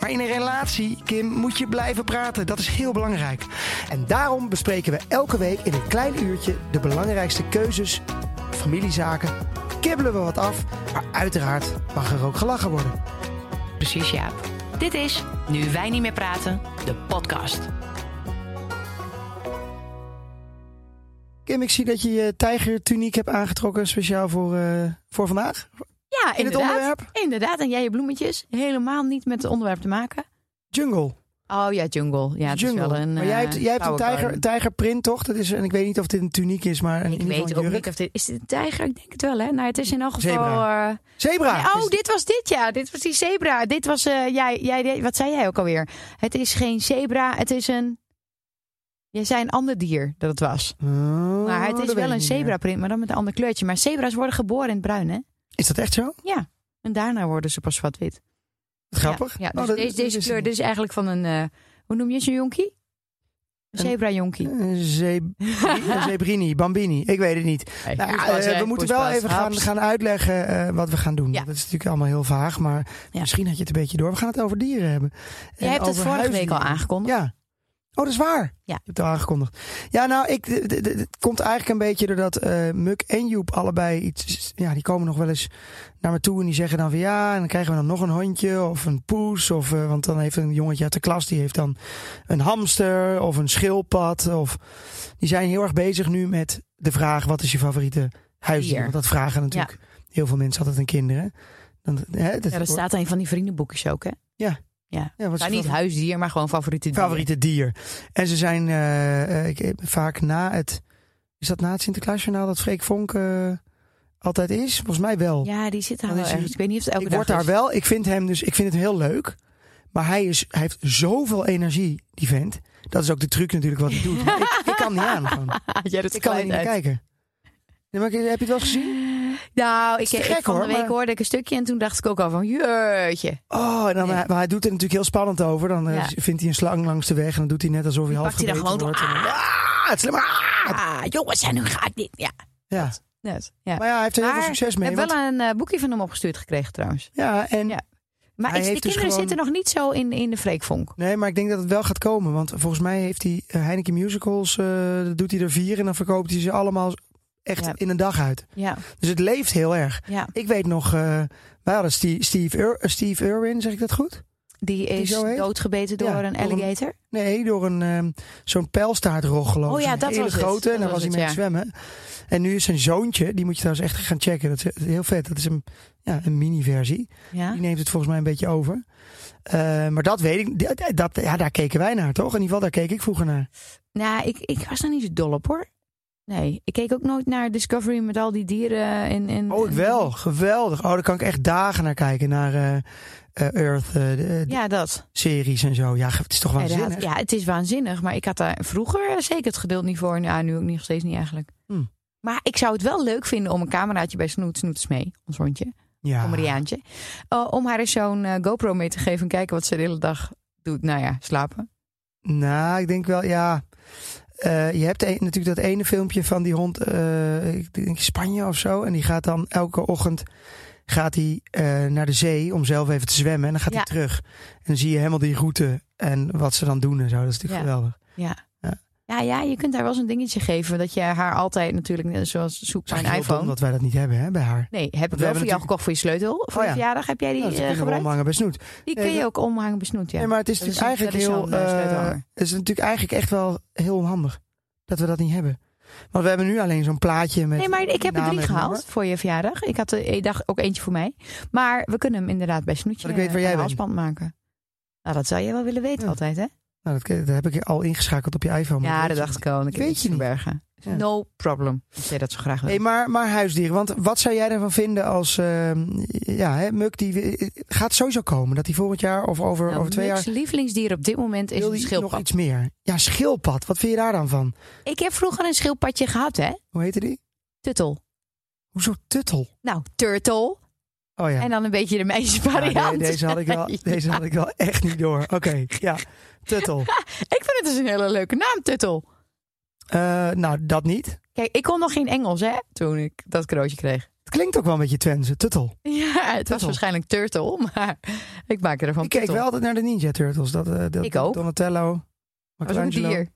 Maar in een relatie, Kim, moet je blijven praten. Dat is heel belangrijk. En daarom bespreken we elke week in een klein uurtje de belangrijkste keuzes, familiezaken. Kibbelen we wat af, maar uiteraard mag er ook gelachen worden. Precies, Jaap. Dit is Nu wij niet meer praten, de podcast. Kim, ik zie dat je je tijgertuniek hebt aangetrokken speciaal voor, eh, voor vandaag. Ja, In het inderdaad. onderwerp Inderdaad, en jij je bloemetjes. Helemaal niet met het onderwerp te maken. jungle. Oh ja, jungle. Ja, het jungle. is wel een. maar jij hebt, eh, jij hebt een flower tijger, garden. tijgerprint, toch? Dat is, en ik weet niet of dit een tuniek is, maar een Ik weet ook niet of dit. Is dit een tijger? Ik denk het wel, hè? Nou, het is in elk geval. Zebra. eh, Zebra! nee, Is- oh, dit was dit, ja. Dit was die zebra. Dit was. eh, jij, jij, wat zei jij ook alweer? Het is geen zebra, het is een. Jij zei een ander dier dat het was. Oh, Maar het dat is weet ik wel een niet meer. zebraprint, maar dan met een ander kleurtje. Maar zebra's worden geboren in het bruin, hè? Is dat echt zo? Ja. En daarna worden ze pas wat wit. Wat Grappig. Ja, ja, dus Oh, dat- deze, dat deze is kleur een- dit is eigenlijk van een... eh, hoe noem je zo'n jonkie? Een Een- Eh, zebra-jonkie. Een zeb- een Zebrini, Bambini, ik weet het niet. Nou ja, eh, we moeten wel even gaan, gaan uitleggen eh, wat we gaan doen. Ja. Dat is natuurlijk allemaal heel vaag, maar Ja. misschien had je het een beetje door. We gaan het over dieren hebben. Je En hebt het over vorige week al huisdieren. aangekondigd. Ja. Oh, dat is waar. Je hebt het al aangekondigd. Ja, nou, ik, d- d- d- het komt eigenlijk een beetje doordat eh Muk en Joep allebei iets... Ja, die komen nog wel eens naar me toe en die zeggen dan van... Ja, en dan krijgen we dan nog een hondje of een poes. Of, eh, want dan heeft een jongetje uit de klas, die heeft dan een hamster of een schildpad. Of, die zijn heel erg bezig nu met de vraag, wat is je favoriete huisdier? Dier. Want dat vragen natuurlijk heel veel mensen altijd aan kinderen. Dan, hè, dat, Ja, dat staat in een van die vriendenboekjes ook, hè? Ja, wat is Nou, je niet huisdier, maar gewoon favoriete dier. favoriete dier. En ze zijn eh, eh, ik- vaak na het. Is dat na het Sinterklaasjournaal dat Freek Vonk eh, altijd is? Volgens mij wel. Ja, die zit daar Dan wel is hij- ergens. Ik weet niet of het elke ik dag word daar is. wel. Ik vind hem dus. Ik vind het heel leuk. Maar hij, is, hij heeft zoveel energie, die vent. Dat is ook de truc natuurlijk wat hij doet. Maar ik, ik kan niet aan. Gewoon. ja, dat Ik kan er niet naar kijken. Nee, maar ik- heb je het wel eens gezien? Nou, ik, te ik, gek, van hoor, de week maar- hoorde ik een stukje en toen dacht ik ook al van... Jeetje. Oh, en dan, Nee. hij, maar hij doet er natuurlijk heel spannend over. Dan eh, Ja. vindt hij een slang langs de weg en dan doet hij net alsof hij half pakt hij dan gebeten gewoon wordt. door. En dan- Ah, het is alleen maar, ah. Ah, jongens, en nu ga ik dit. Ja, Ja. net. Ja. Maar ja, hij heeft er heel veel Maar succes Ik mee. heb want- wel een eh, boekje van hem opgestuurd gekregen, trouwens. Ja, en Ja. Maar Hij is- de heeft dus kinderen gewoon- zitten nog niet zo in, in de freekvonk. Nee, maar ik denk dat het wel gaat komen. Want volgens mij heeft hij eh, Heineken Musicals, eh, doet hij er vier en dan verkoopt hij ze allemaal echt Ja. in een dag uit. Ja, Dus het leeft heel erg. ja. Ik weet nog, eh wij hadden Steve, Steve, Ir- eh, Steve Irwin, zeg ik dat goed? Die is zo heet? doodgebeten door Ja, een door een- alligator. Nee, door een ehm, zo'n pijlstaartroggel. Oh ja, dat hele was het. grote. En Dat daar was was hij het, mee aan ja. het zwemmen. En nu is zijn zoontje, die moet je trouwens echt gaan checken. Dat is heel vet. Dat is een, ja, een mini-versie. Ja. Die neemt het volgens mij een beetje over. Eh, maar dat weet ik. Dat, dat- ja, daar keken wij naar, toch? In ieder geval, daar keek ik vroeger naar. Nou, ik, ik was daar niet zo dol op hoor. Nee, ik keek ook nooit naar Discovery met al die dieren. En, en, Oh, ik wel. Geweldig. Oh, daar kan ik echt dagen naar kijken. Naar eh, eh, Earth eh, de- de Ja, dat. series en zo. Ja, het is toch Ja, waanzinnig. dat- ja, het is waanzinnig. Maar ik had daar vroeger eh, zeker het geduld niet voor. Ja, nu ook niet, nog steeds niet eigenlijk. Hmm. Maar ik zou het wel leuk vinden om een cameraatje bij Snoet, Snoet is mee, ons hondje, Ja. Comediaantje. eh, om haar eens zo'n eh, GoPro mee te geven en kijken wat ze de hele dag doet. Nou ja, slapen. Nou, ik denk wel, ja. Eh, je hebt een- natuurlijk dat ene filmpje van die hond, eh, ik denk Spanje of zo. En die gaat dan elke ochtend gaat hij, eh, naar de zee om zelf even te zwemmen. En dan gaat hij Ja. terug. En dan zie je helemaal die route en wat ze dan doen en zo. Dat is natuurlijk Ja. geweldig. Ja, ja, je kunt haar wel eens een dingetje geven. Dat je haar altijd natuurlijk, net zoals zoek Het maar is een heel dom iPhone. dat wij dat niet hebben hè, bij haar. Nee, heb ik we wel hebben voor jou gekocht voor je sleutel. Voor Oh je ja. verjaardag heb jij die Nou, ze eh, kunnen gebruikt? omhangen bij snoet. Die Nee, kun je dat- ook omhangen besnoet, ja. Nee, maar het is Dat is natuurlijk een- eigenlijk dat heel. is zo'n, eh, eh, sleutelhanger. het is natuurlijk eigenlijk echt wel heel onhandig dat we dat niet hebben. Want we hebben nu alleen zo'n plaatje met. Nee, maar ik heb er naam drie en gehaald nummer. voor je verjaardag. Ik had er, ik dacht ook eentje voor mij. Maar we kunnen hem inderdaad bij snoetje Maar ik weet waar eh, jij een bent. halsband maken. Nou, dat zou je wel willen weten Ja. altijd, hè? Nou, dat, dat heb ik al ingeschakeld op je iPhone. maar Ja, weet dat je dacht niet. ik al. want Ik Weet heb je iets niet. verbergen. Ja. No problem. Ik zei dat zo graag. Nee, wil. maar, maar huisdieren. Want wat zou jij ervan vinden als... ehm, ja, hè, Muk die eh, gaat sowieso komen. Dat die volgend jaar of over, Nou, over twee Muk's jaar... lievelingsdier op dit moment is wil een die nog schildpad. iets meer. Ja, schildpad. Wat vind je daar dan van? Ik heb vroeger een schildpadje gehad, hè? Hoe heette die? Tuttle. Hoezo tuttel? Nou, turtle. Oh ja. En dan een beetje de Ja, meisjesvariant. Nou, de- deze, had ik wel, deze had ik wel echt niet door. Oké, ja. Tuttel. Ik vind het dus een hele leuke naam, Tuttle. Eh, nou, dat niet. Kijk, ik kon nog geen Engels, hè? Toen ik dat cadeautje kreeg. Het klinkt ook wel een beetje eh, Twentse. Tuttel. Ja, het was Turtle. waarschijnlijk turtle, maar ik maak ervan Ik keek Tuttle. wel altijd naar de Ninja Turtles. Dat, eh, dat, Ik ook. Donatello. was ook een Michelangelo. dier.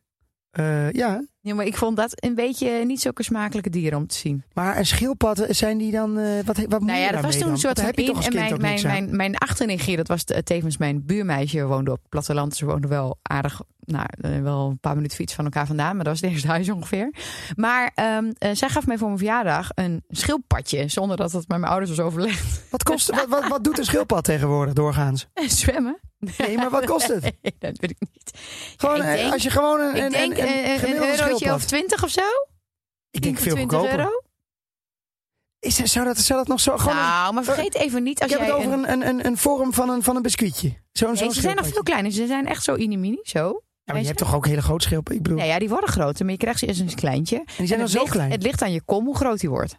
Eh, ja, Ja, maar ik vond dat een beetje niet zulke smakelijke dieren om te zien. maar en schildpadden zijn die dan... eh, wat, wat moet nou je ja, dat was daarmee toen een dan? soort Dat van heb je in. toch als En kind mijn, ook mijn, niks aan? mijn, mijn achternichtje, dat was eh, tevens mijn buurmeisje, woonde op het platteland. Ze woonden wel aardig, nou, eh, wel een paar minuten fiets van elkaar vandaan. Maar dat was het eerste huis ongeveer. Maar ehm, eh, zij gaf mij voor mijn verjaardag een schildpadje. Zonder dat het met mijn ouders was overlegd. Wat, kost, wat, wat, wat doet een schildpad tegenwoordig doorgaans? Zwemmen? Nee, maar wat kost het? Nee, dat weet ik niet. Gewoon, ik eh, denk- als je gewoon een, Ik een, denk een, eh, eh, een, een, gemiddelde eurotje schildpad. of twintig of zo. ik denk veel 20 goedkoper. euro. Is, zou, dat, zou dat nog zo... Gewoon een- Eh, Nou, maar vergeet even niet als ik heb jij het over een... een, een, een, een vorm van een, van een biscuitje. Zo'n zo'n Nee, ze zijn nog schildpadje. veel kleiner. Ze zijn echt zo inimini, zo. Ja, maar je hebt toch ook hele grote schildpadden? Ik bedoel, Nou ja, die worden groter, maar je krijgt ze eerst een kleintje. en die zijn En dan het zo ligt- klein. Het ligt aan je kom hoe groot die wordt.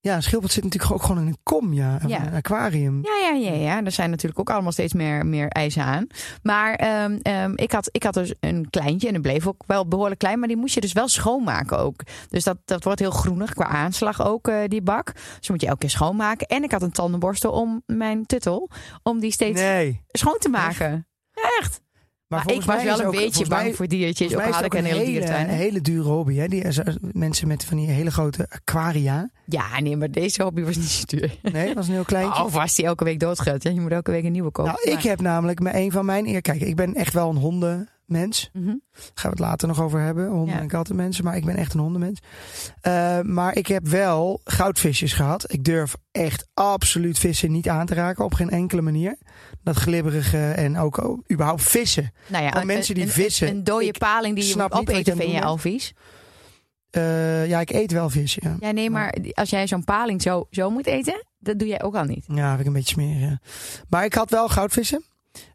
Ja, een schildpad zit natuurlijk ook gewoon in een kom, ja. Of Ja. een aquarium. Ja, ja, ja, ja. Er zijn natuurlijk ook allemaal steeds meer, meer eisen aan. Maar ehm, ehm, ik, had, ik had dus een kleintje en dat bleef ook wel behoorlijk klein. Maar die moest je dus wel schoonmaken ook. Dus dat, dat wordt heel groenig qua aanslag ook, eh, die bak. Dus moet je elke keer schoonmaken. En ik had een tandenborstel om mijn tuttel, om die steeds Nee. schoon te maken. Ja, echt. Maar, ik volgens was mij wel is een ook- beetje volgens bang mij- voor diertjes. Ook volgens al had mij ik is een het hele ook dierentuin. hele, hè. hele dure hobby. Hè? Die, er- er- mensen met van die hele grote aquaria. Ja, nee, maar deze hobby was niet zo duur. Nee, dat is een heel kleintje. Of was die elke week doodgeld? Ja, je moet elke week een nieuwe kopen. nou, ik heb namelijk met een van mijn... eer- Kijk, ik ben echt wel een hondenmens. Mhm. gaan we het later nog over hebben. Honden Ja. en kattenmensen. Maar ik ben echt een hondenmens. Eh, maar ik heb wel goudvisjes gehad. Ik durf echt absoluut vissen niet aan te raken. Op geen enkele manier. Dat glibberige en ook oh, überhaupt vissen. Nou ja, Van mensen die een, vissen. Een, een dode Ik paling die je snap moet niet wat je opeten aan het vind je doen al vies. Eh, ja, ik eet wel vissen. Ja. Ja, nee, maar als jij zo'n paling zo, zo moet eten, dat doe jij ook al niet. Ja, heb ik een beetje smerig. ja. Maar ik had wel goudvissen.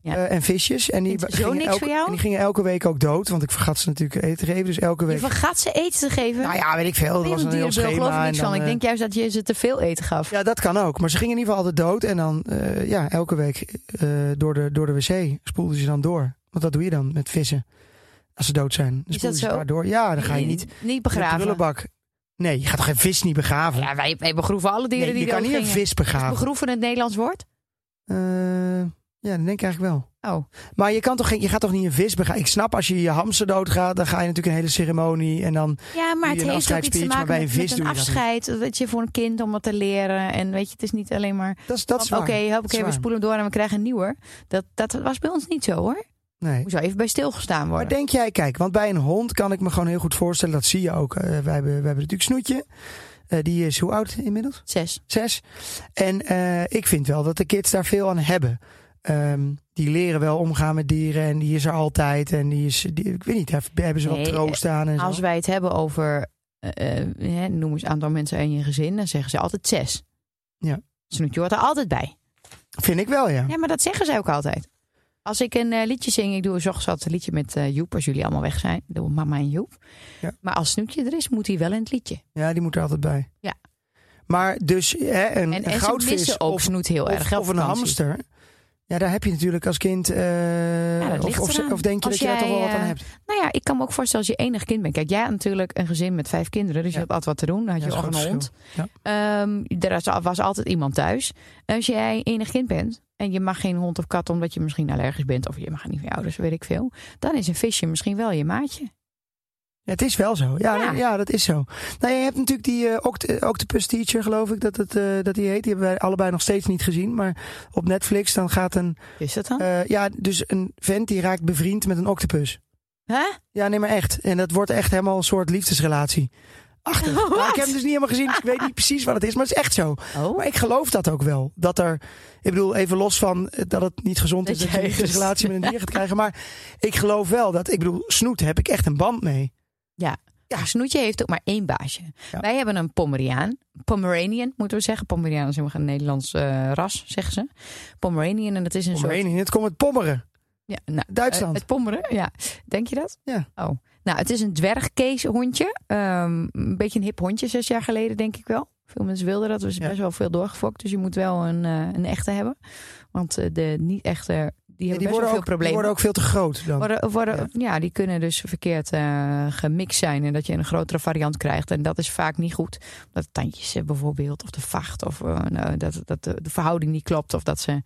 Ja. eh, en visjes. En die, Vindt het zo gingen niks elke, voor jou? en die gingen elke week ook dood. Want ik vergat ze natuurlijk eten te geven. Dus elke Je week. vergat ze eten te geven. Nou ja, weet ik veel. Dat Nee, was want een heel dierenbeul schema. geloof ik en niks dan, van. Ik eh, denk juist dat je ze te veel eten gaf. Ja, dat kan ook. Maar ze gingen in ieder geval altijd dood. En dan eh, ja, elke week eh, door, de, door de wc spoelden ze dan door. Want dat doe je dan met vissen. Als ze dood zijn. Dan Is spoel dat je ze zo? daar door. Ja, dan ga je niet in Niet de begraven. prullenbak. Nee, je gaat toch geen vis niet begraven? Ja, wij, wij begroeven alle dieren Nee, die je kan niet een doodgingen. vis Is begraven. begroeven het Nederlands woord? Eh, ja, dat denk ik eigenlijk wel. Oh. Maar je, kan toch geen, je gaat toch niet een vis begraven? Ik snap, als je je hamster doodgaat, dan ga je natuurlijk een hele ceremonie. En dan, Ja, Doe maar je het een heeft ook iets te afscheidsspeech, maar maken bij een met, vis met doe een je dat niet. afscheid. Dat je voor een kind om wat te leren. En weet je, het is niet alleen maar... dat is, dat is Oké, waar. hoop is ik we waar. spoelen hem door en we krijgen een nieuwe. Dat, dat was bij ons niet zo hoor. Nee. Moet zo even bij stilgestaan worden. Maar denk jij, kijk, want bij een hond kan ik me gewoon heel goed voorstellen. Dat zie je ook. Eh, wij, hebben, wij hebben natuurlijk Snoetje. Eh, die is hoe oud inmiddels? Zes. Zes. En eh, ik vind wel dat de kids daar veel aan hebben. Ehm, die leren wel omgaan met dieren en die is er altijd. En die is, die, ik weet niet, daar hebben ze wel Nee, eh, troost aan en zo. Als wij het hebben over, eh, eh, hè, noem eens een aantal mensen in je gezin, dan zeggen ze altijd zes. Ja. Snoetje hoort er altijd bij. Vind ik wel, ja. Ja, maar dat zeggen ze ook altijd. Als ik een eh, liedje zing, ik doe een altijd een liedje met eh, Joep, als jullie allemaal weg zijn. Ik Doe mama en Joep. Ja. Maar als Snoetje er is, moet hij wel in het liedje. Ja, die moet er altijd bij. Ja. Maar dus hè, een, En, een en ze goudvis missen ook of, Snoet heel erg. of, hè, of op een vakantie. hamster. Ja, daar heb je natuurlijk als kind... eh, Ja, dat of, ligt of, eraan. of denk je Als dat je daar jij, toch wel wat aan eh, hebt? Nou ja, ik kan me ook voorstellen als je enig kind bent. Kijk, jij had natuurlijk een gezin met vijf kinderen, dus je Ja. had altijd wat te doen. Dan had Ja, je dat is ook een groot hond. verschil. Ehm, er was- was altijd iemand thuis. Als jij enig kind bent en je mag geen hond of kat omdat je misschien allergisch bent of je mag niet van je ouders, weet ik veel, dan is een visje misschien wel je maatje. Ja, het is wel zo. Ja, Ja. ja. dat is zo. Nou, je hebt natuurlijk die eh, Oct- eh, Octopus Teacher, geloof ik, dat, het, eh, dat die heet. Die hebben wij allebei nog steeds niet gezien. Maar op Netflix dan gaat een... Is dat dan? eh, ja, dus een vent die raakt bevriend met een octopus. Hè? Ja, nee, maar echt. En dat wordt echt helemaal een soort liefdesrelatie. Achter. Wat? ik heb hem dus niet helemaal gezien. dus ik weet niet precies wat het is, maar het is echt zo. Oh, Maar ik geloof dat ook wel. Dat er, ik bedoel, even los van eh, dat het niet gezond Dat is dat je jij een dus- liefdesrelatie met een dier gaat krijgen. Maar ik geloof wel dat, ik bedoel, snoet heb ik echt een band mee. Ja. Een snoetje heeft ook maar één baasje. Ja. Wij hebben een Pomeriaan. Pomeranian, moeten we zeggen. Pomeranian is helemaal geen Nederlands eh, ras, zeggen ze. Pomeranian, en dat is een soort... Omheen in het komt het pommeren. Ja, nou, Duitsland. eh, het pommeren, ja. Denk je dat? Ja. Oh. Nou, het is een dwergkeeshondje. Ehm een beetje een hip hondje, zes jaar geleden denk ik wel. Veel mensen wilden dat, dus Ja. best wel veel doorgefokt. Dus je moet wel een, eh, een echte hebben. Want eh, de niet-echte, die Ja, hebben die, best wel worden veel ook, die problemen. worden ook veel te groot dan. Worden- worden- ja. die kunnen dus verkeerd eh, gemixt zijn. En dat je een grotere variant krijgt. En dat is vaak niet goed. Dat tandjes eh, bijvoorbeeld, of de vacht. Of eh, nou, dat, dat de, de verhouding niet klopt. Of dat ze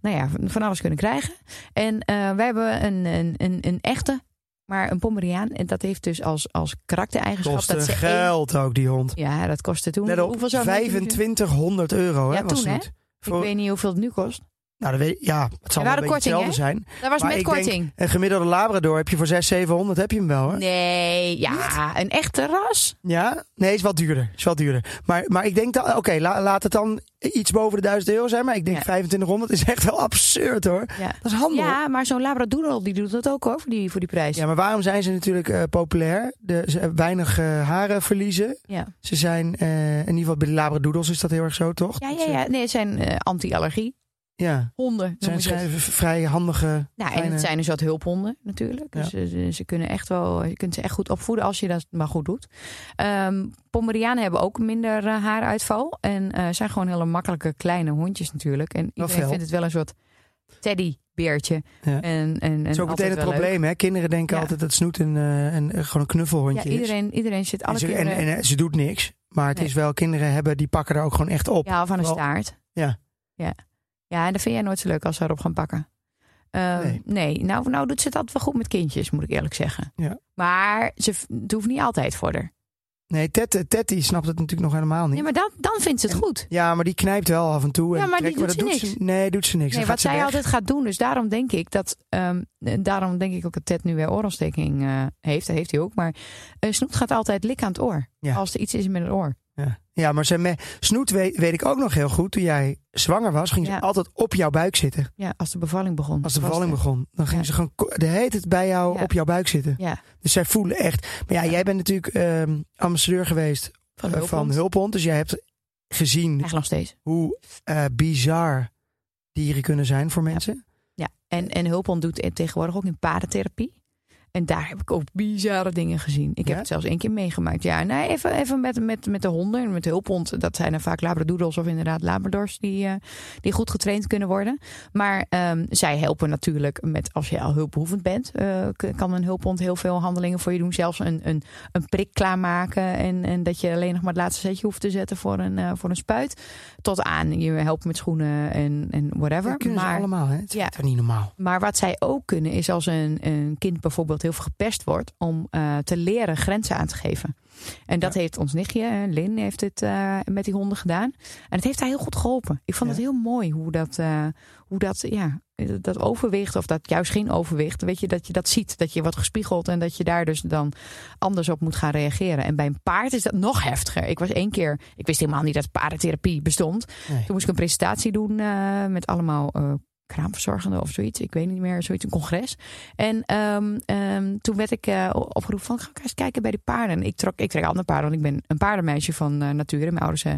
nou ja, van- van alles kunnen krijgen. En eh, wij hebben een, een, een, een echte, maar een Pomeriaan. En dat heeft dus als, als karaktereigenschap... Kostte dat ze één- eh, geld ook, die hond. Ja, dat kostte toen. Let op, Hoeveel zou het nu- 2500 euro Ja, hè, was toen, het. Ik Voor, weet niet hoeveel het nu kost. nou, dat weet, ja, het zal Er wel een waren beetje kortingen, hetzelfde hè? zijn. Dat was Maar met ik denk- korting. Een gemiddelde labrador heb je voor 600, 700, heb je hem wel hè? Nee, ja, een echte ras. Ja? Nee, is wat duurder. Is wat duurder. Maar, maar ik denk dat, oké, la- laat het dan iets boven de 1000 euro zijn. Maar ik denk Ja. 2500 is echt wel absurd hoor. Ja. Dat is handel. Ja, maar zo'n labradoodle die doet dat ook hoor, voor die, voor die prijs. Ja, maar waarom zijn ze natuurlijk eh, populair? De, ze hebben weinig eh, haren verliezen. Ja. Ze zijn, eh, in ieder geval bij de labradoodles is dat heel erg zo, toch? Ja, Dat ja, ze- ja. Nee, het zijn eh, anti-allergie ja. honden. Zijn noemen ze het. ze v- vrij handige... Nou, en kleine- het zijn dus wat hulphonden natuurlijk. Dus eh, ze, ze kunnen echt wel, eh, je kunt ze echt goed opvoeden als je dat maar goed doet. Ehm Pomerianen hebben ook minder eh, haaruitval. En eh, zijn gewoon hele makkelijke kleine hondjes natuurlijk. En iedereen fel. vindt het wel een soort teddybeertje. Ja. En, en, en Dat is ook meteen altijd het wel leuk. probleem, hè? Kinderen denken Ja. altijd dat snoet een, eh, een, eh, gewoon een knuffelhondje Ja, iedereen, iedereen zit alle is. En ze, en, kinderen... en, eh, ze doet niks. Maar het Nee. is wel, kinderen hebben, die pakken er ook gewoon echt op. Ja, of aan een Terwijl- staart. Ja. ja. Ja, en dat vind jij nooit zo leuk als ze erop gaan pakken. Ehm, Nee. nee, Nou, nou doet ze het altijd wel goed met kindjes, moet ik eerlijk zeggen. Ja. Maar ze, v- het hoeft niet altijd voor haar. Nee, Ted, Ted die snapt het natuurlijk nog helemaal niet. Nee, maar dan, dan vindt ze het goed. Ja, maar die knijpt wel af en toe. Ja, en maar die trekt- doet dat ze nee, doet ze niks. Nee, Dan wat gaat ze zij weg. altijd gaat doen. Dus daarom denk ik dat. ehm, en daarom denk ik ook dat Ted nu weer oorontsteking eh, heeft. Dat heeft hij ook. Maar eh, Snoet gaat altijd likken aan het oor. Ja. Als er iets is met het oor. Ja, ja maar zijn me... snoet weet, weet ik ook nog heel goed. Toen jij zwanger was, ging Ja. ze altijd op jouw buik zitten. Ja, als de bevalling begon. Als de Was bevalling het- begon, dan ging Ja. ze gewoon ko- de heet het bij jou Ja. op jouw buik zitten. Ja. Dus zij voelen echt. Maar ja, jij bent natuurlijk ehm, ambassadeur geweest Van eh, hulphond. van Hulphond. Dus jij hebt gezien Eigenlijk nog steeds. hoe eh, bizar dieren kunnen zijn voor mensen. En, en Hulpon doet het tegenwoordig ook in paardentherapie. En daar heb ik ook bizarre dingen gezien. Ik Ja? heb het zelfs één keer meegemaakt. Ja, nee, even, even met, met, met de honden en met de hulphond. Dat zijn er vaak labradoodles of inderdaad labradors die, eh, die goed getraind kunnen worden. Maar ehm, zij helpen natuurlijk met, als je al hulpbehoevend bent, eh, k- kan een hulphond heel veel handelingen voor je doen. Zelfs een, een, een prik klaarmaken en, en dat je alleen nog maar het laatste zetje hoeft te zetten voor een, eh, voor een spuit. Tot aan je helpt met schoenen en, en whatever. Dat kunnen ze maar, allemaal, hè? Het is Ja. toch niet normaal. maar wat zij ook kunnen is als een, een kind bijvoorbeeld heel veel gepest wordt, om eh, te leren grenzen aan te geven. En dat heeft ons nichtje, eh, Lin, heeft het eh, met die honden gedaan. En het heeft haar heel goed geholpen. Ik vond Ja. het heel mooi hoe dat, eh, hoe dat, ja, dat overwicht, of dat juist geen overwicht, weet je, dat je dat ziet, dat je wordt gespiegeld en dat je daar dus dan anders op moet gaan reageren. En bij een paard is dat nog heftiger. Ik was één keer, ik wist helemaal niet dat paardentherapie bestond. Nee. Toen moest ik een presentatie doen eh, met allemaal eh kraamverzorgenden of zoiets. Ik weet niet meer, zoiets, een congres. En ehm, ehm, toen werd ik eh, opgeroepen van, ga ik eens kijken bij die paarden. En Ik trok, ik trek andere paarden, want ik ben een paardenmeisje van eh nature. Mijn ouders eh,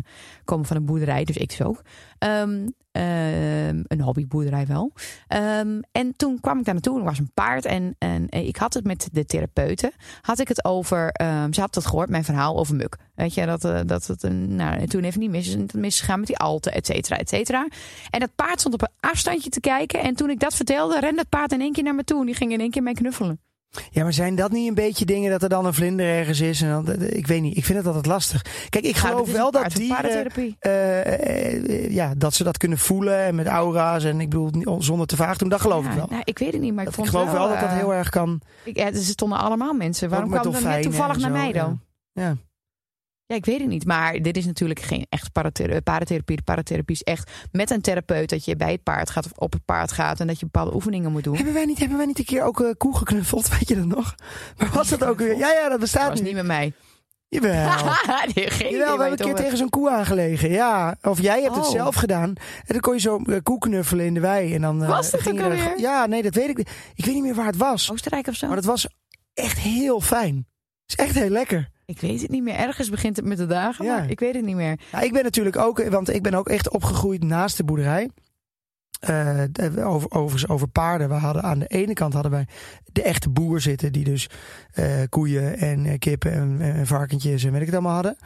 komen van een boerderij, dus ik dus ook. Ehm, ehm, een hobbyboerderij wel. Ehm, en toen kwam ik daar naartoe, er was een paard. En, en eh, ik had het met de therapeuten, had ik het over, ehm, ze had dat gehoord, mijn verhaal over muk. Weet je, dat, eh, dat het een, nou, en toen heeft het niet mis, het misgegaan met die alten, et cetera, et cetera. En dat paard stond op een afstandje te kijken. En toen ik dat vertelde, rende het paard in één keer naar me toe. En die ging in één keer mij knuffelen. Ja, maar zijn dat niet een beetje dingen dat er dan een vlinder ergens is? En dan, ik weet niet, ik vind het altijd lastig. Kijk, ik Nou, geloof is wel een dat paard- een dieren... paardentherapie. eh, eh, eh, ja, dat ze dat kunnen voelen en met aura's en ik bedoel niet- zonder te vaag doen, dat geloof Ja, ik wel. nou, ik weet het niet, maar ik, ik vond geloof het wel, dat dat eh, heel erg kan. Ik, ja, dus er stonden allemaal mensen. Waarom Ook met kwam dat net dolfijnen toevallig en naar zo, mij dan? ja. Ja. Ja, ik weet het niet. Maar dit is natuurlijk geen echt parather- eh, paratherapie. De paratherapie is echt met een therapeut dat je bij het paard gaat of op het paard gaat en dat je bepaalde oefeningen moet doen. Hebben wij niet, hebben wij niet een keer ook eh, koe geknuffeld? Weet je dat nog? Maar was dat ook weer? Ja, ja, dat Dat bestaat was niet. niet met mij. Jawel. Die geen idee Jawel, we waar hebben je een het keer over tegen zo'n koe aangelegen. Ja, of jij hebt het Oh. zelf gedaan. En dan kon je zo'n eh, koe knuffelen in de wei. En dan, eh, Was dat ging ook je er- alweer? Oh. Ja, nee, dat weet ik niet. Ik weet niet meer waar het was. Oostenrijk of zo. Maar dat was echt heel fijn. is echt heel lekker. Ik weet het niet meer. Ergens begint het met de dagen, Ja. maar ik weet het niet meer. Ja, Nou, ik ben natuurlijk ook, want ik ben ook echt opgegroeid naast de boerderij. Eh, de- over, overigens over paarden. We hadden aan de ene kant hadden wij de echte boer zitten, die dus eh, koeien en eh, kippen en, en varkentjes en weet ik het allemaal hadden.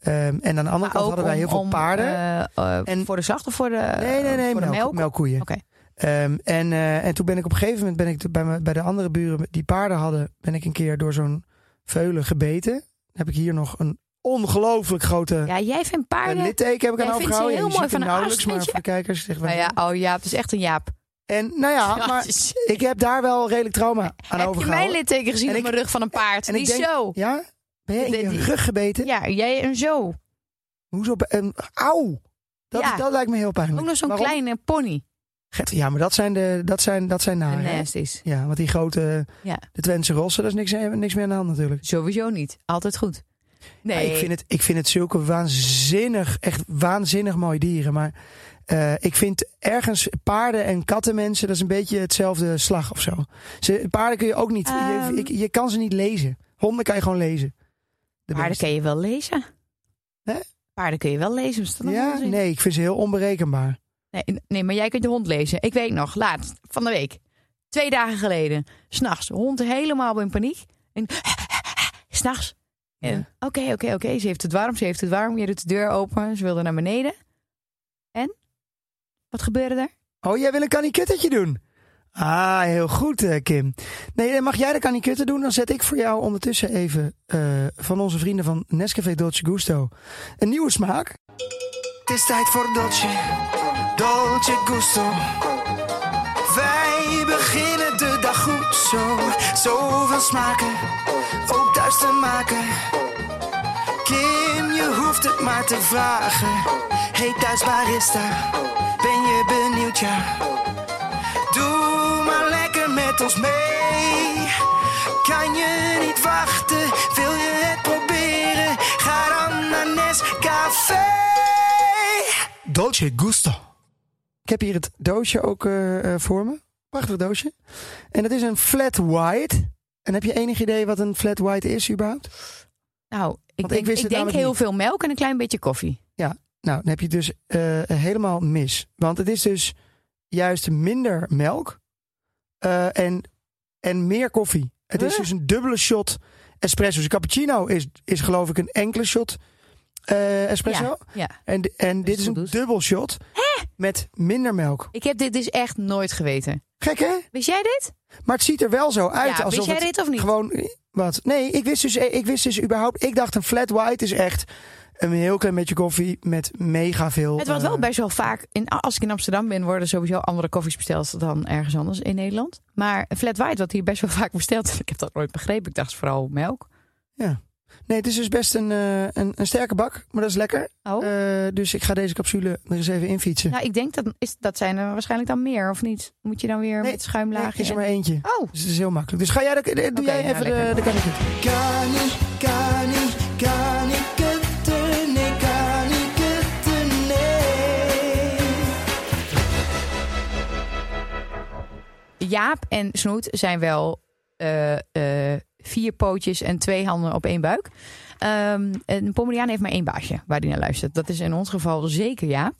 Ehm, en aan de andere Maar kant ook hadden wij heel om- veel om, paarden. eh, eh, En- voor de zacht of voor de, nee, nee, nee, voor de melk- melk? melkkoeien. Oké. Ehm, en, eh, en toen ben ik op een gegeven moment ben ik bij, me- bij de andere buren die paarden hadden, ben ik een keer door zo'n veulen gebeten. Dan heb ik hier nog een ongelooflijk grote Ja, jij vindt een paarden... litteken heb ik Jij aan vindt ze overgehouden. heel Je ziet hem mooi van de nauwelijks, as, maar vind voor de kijkers. Zeg maar. Nou ja, oh ja, het is echt een jaap. En nou ja, maar ik heb daar wel redelijk trauma aan Heb je mijn overgehouden. litteken gezien En op ik- mijn rug van een paard? en Die ik denk- zo. ja? Ben jij in De- je die- rug gebeten? Ja, jij en zo. Hoezo? be- Een, auw! Dat, Ja. dat lijkt me heel pijnlijk. Ook nog zo'n Waarom? kleine pony. Gert, Ja, maar dat zijn, de, dat zijn, dat zijn nare. hè? Nasty is. Ah, Ja, want die grote, Ja. de Twentse rossen, dat is niks, niks meer aan de hand natuurlijk. Sowieso niet. Altijd goed. Nee. Ja, Ah, ik, vind het, ik vind het zulke waanzinnig, echt waanzinnig mooie dieren. Maar eh, ik vind ergens paarden en kattenmensen, dat is een beetje hetzelfde slag of zo. Ze, paarden kun je ook niet, Ehm. je, ik- je kan ze niet lezen. Honden kan je gewoon lezen. De Paarden beesten. kun je wel lezen. Hè? Paarden kun je wel lezen. Is dat nog Ja, onzin? nee, ik vind ze heel onberekenbaar. Nee, n- nee, maar jij kunt je hond lezen. Ik weet nog, laatst van de week. Twee dagen geleden. S'nachts. Hond helemaal in paniek. En s'nachts. En, Oké, oké, oké. Ze heeft het warm, ze heeft het warm. Je doet de deur open. Ze wilde naar beneden. En? Wat gebeurde er? Oh, jij wil een kanikuttetje doen? Ah, heel goed, eh, Kim. Nee, dan mag jij de kanikutten doen? Dan zet ik voor jou ondertussen even eh, van onze vrienden van Nescafé Dolce Gusto een nieuwe smaak. Het is tijd voor Dolce, Dolce Gusto. Wij beginnen de dag goed zo. Zoveel smaken, ook thuis te maken. Kim, je hoeft het maar te vragen. Hey thuis barista, ben je benieuwd ja? Doe maar lekker met ons mee. Kan je niet wachten? Wil je het proberen? Ga dan naar Nescafé. Dolce Gusto. Ik heb hier het doosje ook eh, eh, voor me. Prachtig doosje. En dat is een flat white. En heb je enig idee wat een flat white is überhaupt? Nou, ik ik denk, wist het ik denk namelijk heel niet. veel melk en een klein beetje koffie. Nou, dan heb je het dus eh, helemaal mis. Want het is dus juist minder melk eh, en, en meer koffie. Het is Huh? dus een dubbele shot espresso. Dus cappuccino is, is geloof ik een enkele shot eh, espresso. Ja, ja. En, en dit is een voldoet. dubbel shot met minder melk. Ik heb dit dus echt nooit geweten. Gek hè? Wist jij dit? Maar het ziet er wel zo uit. ja, alsof wist jij het dit of niet? gewoon. eh, Wat? Nee, ik wist, dus, ik wist dus überhaupt. Ik dacht een flat white is echt een heel klein beetje koffie met mega veel. Het wordt eh, wel best wel vaak. In, als ik in Amsterdam ben, worden sowieso andere koffies besteld dan ergens anders in Nederland. Maar een flat white wordt hier best wel vaak besteld. Ik heb dat nooit begrepen. Ik dacht vooral melk. Nee, het is dus best een, eh, een, een sterke bak, maar dat is lekker. Oh. Eh, dus ik ga deze capsule er eens even in fietsen. Nou, ik denk dat, is, dat zijn er waarschijnlijk dan meer, of niet? Moet je dan weer Nee, met Nee, schuimlaagjes? is er maar eentje. Oh, Dus het is heel makkelijk. Dus ga jij, de, de- doe Oké, jij ja, even de, lekker. de kanikutten. Kani, kani, kanikutten, nee, kanikutten, nee. Jaap en Snoet zijn wel eh, eh, vier pootjes en twee handen op één buik. Ehm, een Pomeriaan heeft maar één baasje waar hij naar luistert. Dat is in ons geval zeker Jaap.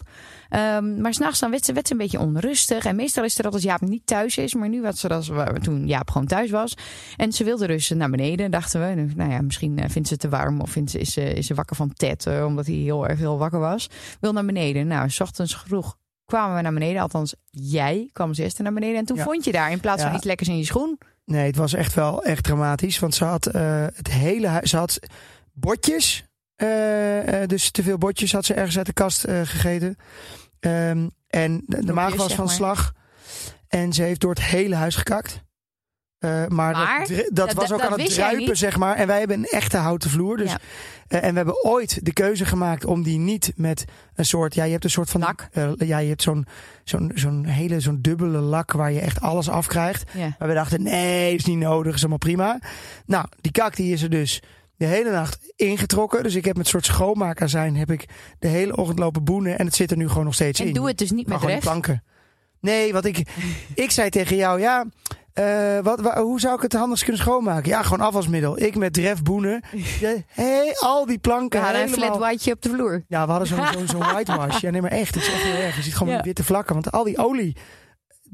Ehm, maar s'nachts dan werd ze, werd ze een beetje onrustig. En meestal is het dat als Jaap niet thuis is. Maar nu was ze dat ze- toen Jaap gewoon thuis was. En ze wilde dus naar beneden, dachten we. En, Nou ja, misschien eh, vindt ze het te warm. Of vindt ze, is, ze, is ze wakker van Ted. eh, omdat hij heel erg heel wakker was. Wil naar beneden. Nou, s ochtends vroeg kwamen we naar beneden. Althans, jij kwam als eerste naar beneden. En toen Ja. vond je daar in plaats van Ja. iets lekkers in je schoen. Nee, het was echt wel echt dramatisch. Want ze had eh, het hele huis. Ze had botjes. eh, eh, dus te veel botjes had ze ergens uit de kast eh, gegeten. Ehm, en de, de Knopjes, maag was zeg van maar. slag. En ze heeft door het hele huis gekakt. Eh, maar dat Maar dri- dat, dat- was ook dat aan het wist jij druipen, niet. zeg maar. En wij hebben een echte houten vloer. Dus, Ja. eh, en we hebben ooit de keuze gemaakt om die niet met een soort... Ja, je hebt een soort van... Lak. eh, ja, je hebt zo'n zo'n zo'n hele zo'n dubbele lak waar je echt alles afkrijgt. Ja. Maar we dachten, nee, is niet nodig, is allemaal prima. Nou, die kak die is er dus de hele nacht ingetrokken. Dus ik heb met een soort schoonmaakazijn heb ik de hele ochtend lopen boenen. En het zit er nu gewoon nog steeds En in. doe het dus niet maar met gewoon in recht. planken. Nee, want ik, ik zei tegen jou, ja, Eh, wat, wa- hoe zou ik het handigst kunnen schoonmaken? Ja, gewoon afwasmiddel. Ik met Dref Boenen. Ja, hey, al die We planken. hadden een helemaal- flat whiteje op de vloer. Ja, we hadden zo'n zo'n- zo'n whitewash. Ja, nee, maar echt. Het is echt heel erg. Je ziet gewoon Ja. die witte vlakken. Want al die olie,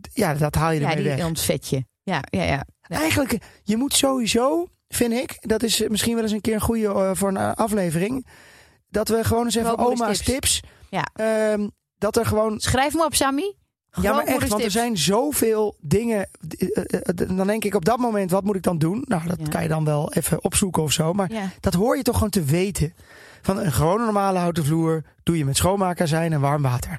d- ja, dat haal je Ja, ermee die weg. ontvet je. Ja, ja, ja. ja. Eigenlijk, je moet sowieso, vind ik... Dat is eh, misschien wel eens een keer een goede eh, voor een eh, aflevering. Dat we gewoon eens even Grootmoeders oma's tips... tips. Ja. ehm, dat er gewoon Schrijf me op, Sammy. Ja, maar echt, Grootmoeders want er tips. zijn zoveel dingen. eh, eh, eh, Dan denk ik op dat moment, wat moet ik dan doen? Nou, dat Ja. kan je dan wel even opzoeken of zo. Maar Ja. dat hoor je toch gewoon te weten. Van een gewone normale houten vloer doe je met schoonmaakozijn en warm water.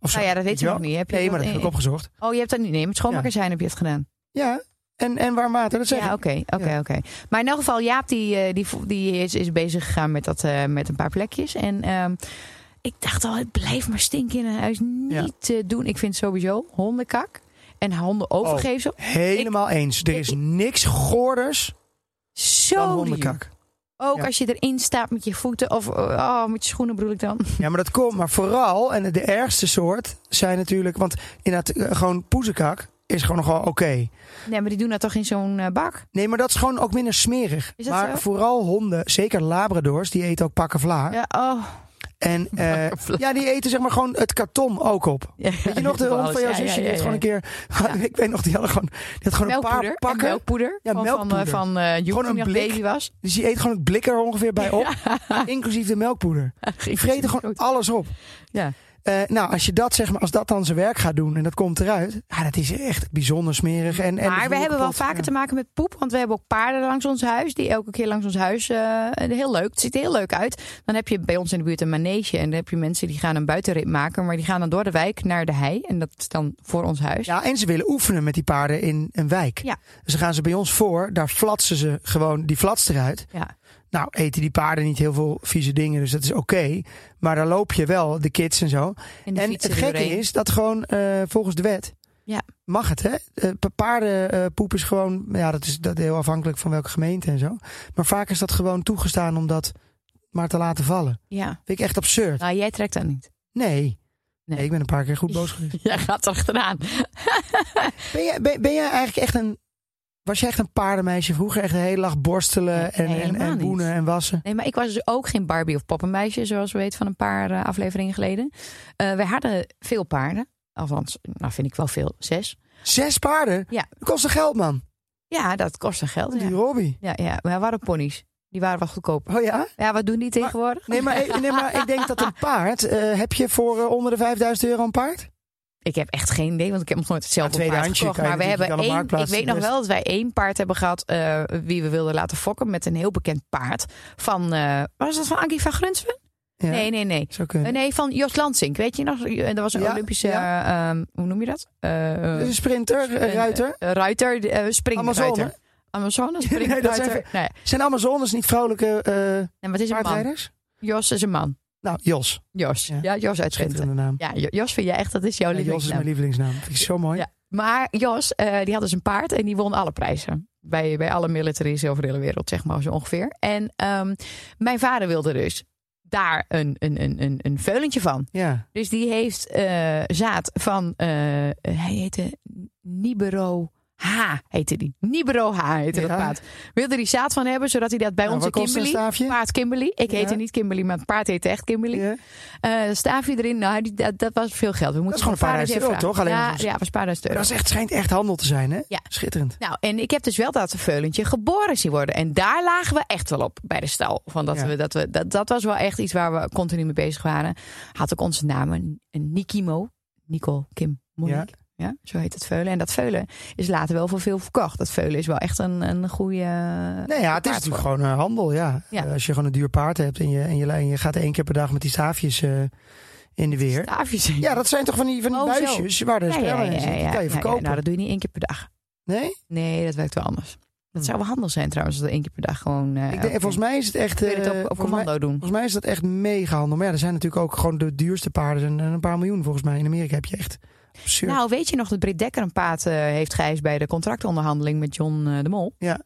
Of zo. Nou ja, dat weet je je nog wel? niet. Heb je Nee, maar dat heb ik opgezocht. Oh, je hebt dat niet. Nee, met schoonmaker zijn heb je het gedaan. Ja, en, en warm water, dat zeg Ja, ik. oké, oké, Ja. oké. Maar in elk geval, Jaap die, eh, die, vo- die is, is bezig gegaan met, dat, eh, met een paar plekjes. En ehm, ik dacht al, het blijft maar stinken in een huis. Niet te doen. Ik vind sowieso hondenkak en honden overgeven. Oh. Helemaal eens. Er is niks goorders dan Zo duur. hondenkak. Ook Ja. als je erin staat met je voeten of oh, met je schoenen bedoel ik dan. Ja, maar dat komt. Maar vooral, en de ergste soort zijn natuurlijk... Want inderdaad, eh, gewoon poezekak is gewoon nogal oké. Nee, maar die doen dat toch in zo'n eh, bak? Nee, maar dat is gewoon ook minder smerig. Is dat maar zo? vooral honden, zeker labradors, die eten ook pakken vla. Ja, oh. En eh, ja, die eten zeg maar gewoon het karton ook op. Weet je nog, de hond van jouw zusje, die heeft gewoon een keer... Ik weet nog, die had gewoon, die had gewoon een paar melkpoeder, en pakken. melkpoeder. Ja, van, melkpoeder. Van, eh, van eh, Joep, Gewoon toen een hij nog blik. baby was. Dus die eet gewoon het blik er ongeveer bij op. Inclusief de melkpoeder. Die vreten gewoon alles op. Ja. Eh, nou, als, je dat, zeg maar, als dat dan zijn werk gaat doen en dat komt eruit... Ja, dat is echt bijzonder smerig. En, en maar we hebben wel vaker te maken. maken met poep. Want we hebben ook paarden langs ons huis. Die elke keer langs ons huis. eh, heel leuk. Het ziet er heel leuk uit. Dan heb je bij ons in de buurt een manege. En dan heb je mensen die gaan een buitenrit maken. Maar die gaan dan door de wijk naar de hei. En dat is dan voor ons huis. Ja, en ze willen oefenen met die paarden in een wijk. Ja. Dus dan gaan ze bij ons voor, daar flatsen ze gewoon die flats eruit. Ja. Nou, eten die paarden niet heel veel vieze dingen, dus dat is oké. Maar daar loop je wel, de kids en zo. En, de en het fietsen gekke erdoorheen. is dat gewoon eh, volgens de wet Ja. mag het, hè? Eh, pa- Paardenpoep is gewoon, ja, dat is dat heel afhankelijk van welke gemeente en zo. Maar vaak is dat gewoon toegestaan om dat maar te laten vallen. Ja. Vind ik echt absurd. Nou, jij trekt dat niet. Nee. Nee, Nee. ik ben een paar keer goed boos geweest. Jij gaat erachteraan. Ben jij, ben, ben jij eigenlijk echt een. Was jij echt een paardenmeisje vroeger? Echt een hele dag borstelen Nee, en, en, helemaal en niet. boenen en wassen? Nee, maar ik was dus ook geen Barbie of poppenmeisje, zoals we weten van een paar eh, afleveringen geleden. Eh we hadden veel paarden. Althans, nou vind ik wel veel. Zes. Zes paarden? Ja. Dat kostte geld, man. Ja, dat kost een geld. Die Ja, Robbie. ja, ja. maar we hadden ponies. Die waren wel goedkoop. Oh ja? Ja, wat doen die tegenwoordig? Nee, maar, eh, nee, maar ik denk dat een paard. eh, heb je voor eh, onder de 5000 euro een paard? Ik heb echt geen idee, want ik heb nog nooit zelf Ja, een paard tweedehandsje gekocht. kan je Maar we hebben natuurlijk aan de één, ik marktplaats weet nog best- wel dat wij één paard hebben gehad... eh, wie we wilden laten fokken met een heel bekend paard. Van, eh, was dat van Ankie van Grunsven? Ja, Nee, nee, nee. Zou Eh, kunnen. Nee, van Jos Lansink. Weet je nog? En Dat was een Ja, Olympische, ja. eh, ehm, hoe noem je dat? Eh, eh, Dus een sprinter, een een, ruiter. eh, ruiter, eh, springruiter. Amazone. Amazone, Nee, dat zijn springruiter. Nee, nee, Zijn Amazones niet vrolijke eh maar het is een man. paardrijders? Jos is een man. Nou, Jos. Jos. Ja. Ja, Jos uit Twente. Schitterende naam. Ja, Jo- Jos vind jij echt, dat is jouw Ja, Jos is lievelingsnaam. mijn lievelingsnaam. Vind ik zo mooi. Ja. Maar Jos, eh, die had dus een paard en die won alle prijzen. Bij, bij alle militaries over de hele wereld, zeg maar zo ongeveer. En ehm, mijn vader wilde dus daar een, een, een, een, een veulentje van. Ja. Dus die heeft eh, zaad van, eh, hij heette Nibero H, heette die. Nibero H heette Ja. dat paard. Wilde die zaad van hebben, zodat hij dat bij Nou, onze wat kost een Kimberly... staafje? Paard Kimberly. Ik Ja. heette niet Kimberly, maar het paard heette echt Kimberly. Ja. Eh staafje erin. Nou, die, dat, dat was veel geld. We moeten is gewoon een nog paar eens duizend even euro, toch? vragen. Alleen ja, nog eens. ja, dat was een paar duizend euro. Dat is echt, schijnt echt handel te zijn, hè? Ja. Schitterend. Nou, en ik heb dus wel dat veulentje geboren zien worden. En daar lagen we echt wel op bij de stal. Van dat, Ja. we, dat, we, dat, dat was wel echt iets waar we continu mee bezig waren. Had ook onze namen een Nikimo. Nicole, Kim, Monique. Ja. zo heet het veulen. En dat veulen is later wel voor veel verkocht. Dat veulen is wel echt een, een goede... Nee, ja, het is natuurlijk gewoon eh, handel, ja. Ja. Eh, als je gewoon een duur paard hebt en je, en je, en je gaat één keer per dag met die staafjes eh, in de weer. Staafjes. Ja, dat zijn toch van die, van die Oh, zo. buisjes waar de Ja, spellen ja, ja, in zitten. Die ja, kan je ja, ja. verkopen. Nou, dat doe je niet één keer per dag. Nee? Nee, dat werkt wel anders. Dat zou wel handel zijn trouwens, als we één keer per dag gewoon... eh, Hm. Ik denk, en volgens mij is het echt... kun je het eh, op, op volgens, mij, commando doen. volgens mij is dat echt mega handel. Maar ja, er zijn natuurlijk ook gewoon de duurste paarden. En een paar miljoen volgens mij. In Amerika heb je echt absurd. Nou, weet je nog dat Britt Dekker een paard eh, heeft geëist bij de contractonderhandeling met John eh, de Mol? Ja.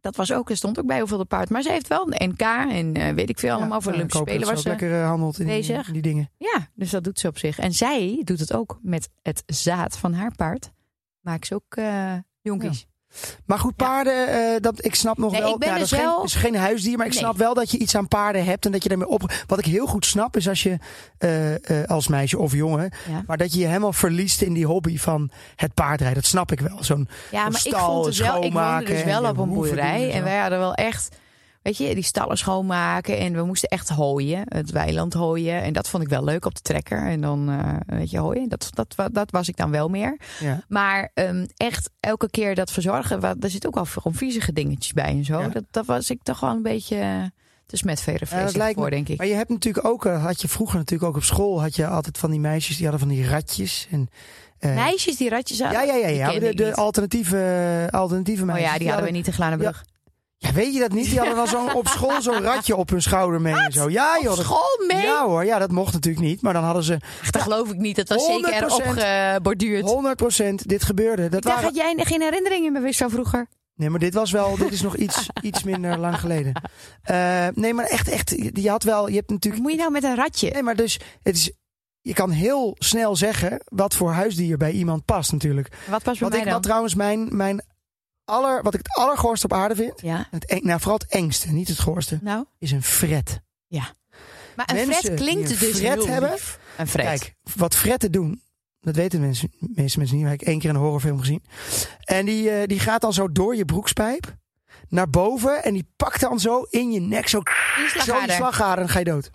Dat was ook, er stond ook bij hoeveel de paard. Maar ze heeft wel een NK en eh, weet ik veel allemaal voor Ja, nou, ik Olympische hoop dat Spelen ze ook was ze. lekker eh, handelt in, die- bezig. in die dingen. Ja, dus dat doet ze op zich. En zij doet het ook met het zaad van haar paard. Maakt ze ook eh, jonkies. Maar goed, paarden, eh, dat, ik snap nog Nee, wel. ik ben ja, dus dat is geen- wel- dat is geen huisdier, maar ik Nee. snap wel dat je iets aan paarden hebt en dat je daarmee op. Wat ik heel goed snap is als je eh, eh, als meisje of jongen, Ja. maar dat je je helemaal verliest in die hobby van het paardrijden. Dat snap ik wel. Zo'n Ja, maar ik stal vond het wel. Ik woonde schoonmaken dus en wel je op een hoeven doen en boerderij. zo. En wij hadden wel echt. Weet je, die stallen schoonmaken. En we moesten echt hooien. Het weiland hooien. En dat vond ik wel leuk op de trekker. En dan, eh, weet je, hooien. Dat, dat, wa- dat was ik dan wel meer. ja. Maar ehm, echt elke keer dat verzorgen. wa- Daar zit ook al gewoon viezige dingetjes bij en zo. Ja. Dat, dat was ik toch wel een beetje eh, te Ja, smetverenvreselijk dat lijkt me- voor, denk ik. Maar je hebt natuurlijk ook, eh, had je vroeger natuurlijk ook op school, had je altijd van die meisjes die hadden van die ratjes en. eh, Meisjes die ratjes hadden. ja, ja, ja, die ja. kende De, ik de niet. alternatieve, eh, alternatieve Oh meisjes. ja, die hadden we niet in Glanenbrug. Ja, weet je dat niet? Die hadden dan zo'n op school zo'n ratje op hun schouder mee en zo. Ja, joh. dat- School mee? Ja hoor, ja, dat mocht natuurlijk niet. Maar dan hadden ze Ach, dat geloof ik niet. Dat was zeker 100% erop geborduurd. 100% dit gebeurde. Dat Daar waren... had jij geen herinneringen meer zo vroeger. Nee, maar dit was wel, dit is nog iets, iets minder lang geleden. Eh, nee, maar echt, echt, je had wel, je hebt Wat natuurlijk. moet je nou met een ratje? Nee, maar dus, het is, je kan heel snel zeggen wat voor huisdier bij iemand past natuurlijk. Wat was bij Wat mij ik dan? wat trouwens mijn, mijn aller, wat ik het allergoorste op aarde vind, Ja, het eng, nou vooral het engste, niet het goorste, nou. is een fret. Maar een Mensen fret die klinkt een dus fret heel hebben, lief. Een fret. Kijk, wat fretten doen, dat weten mensen, de meeste mensen niet. Maar ik heb één keer een horrorfilm gezien. En die, eh, die gaat dan zo door je broekspijp naar boven en die pakt dan zo in je nek, zo, Die zo je slagader. slagader en dan ga je dood.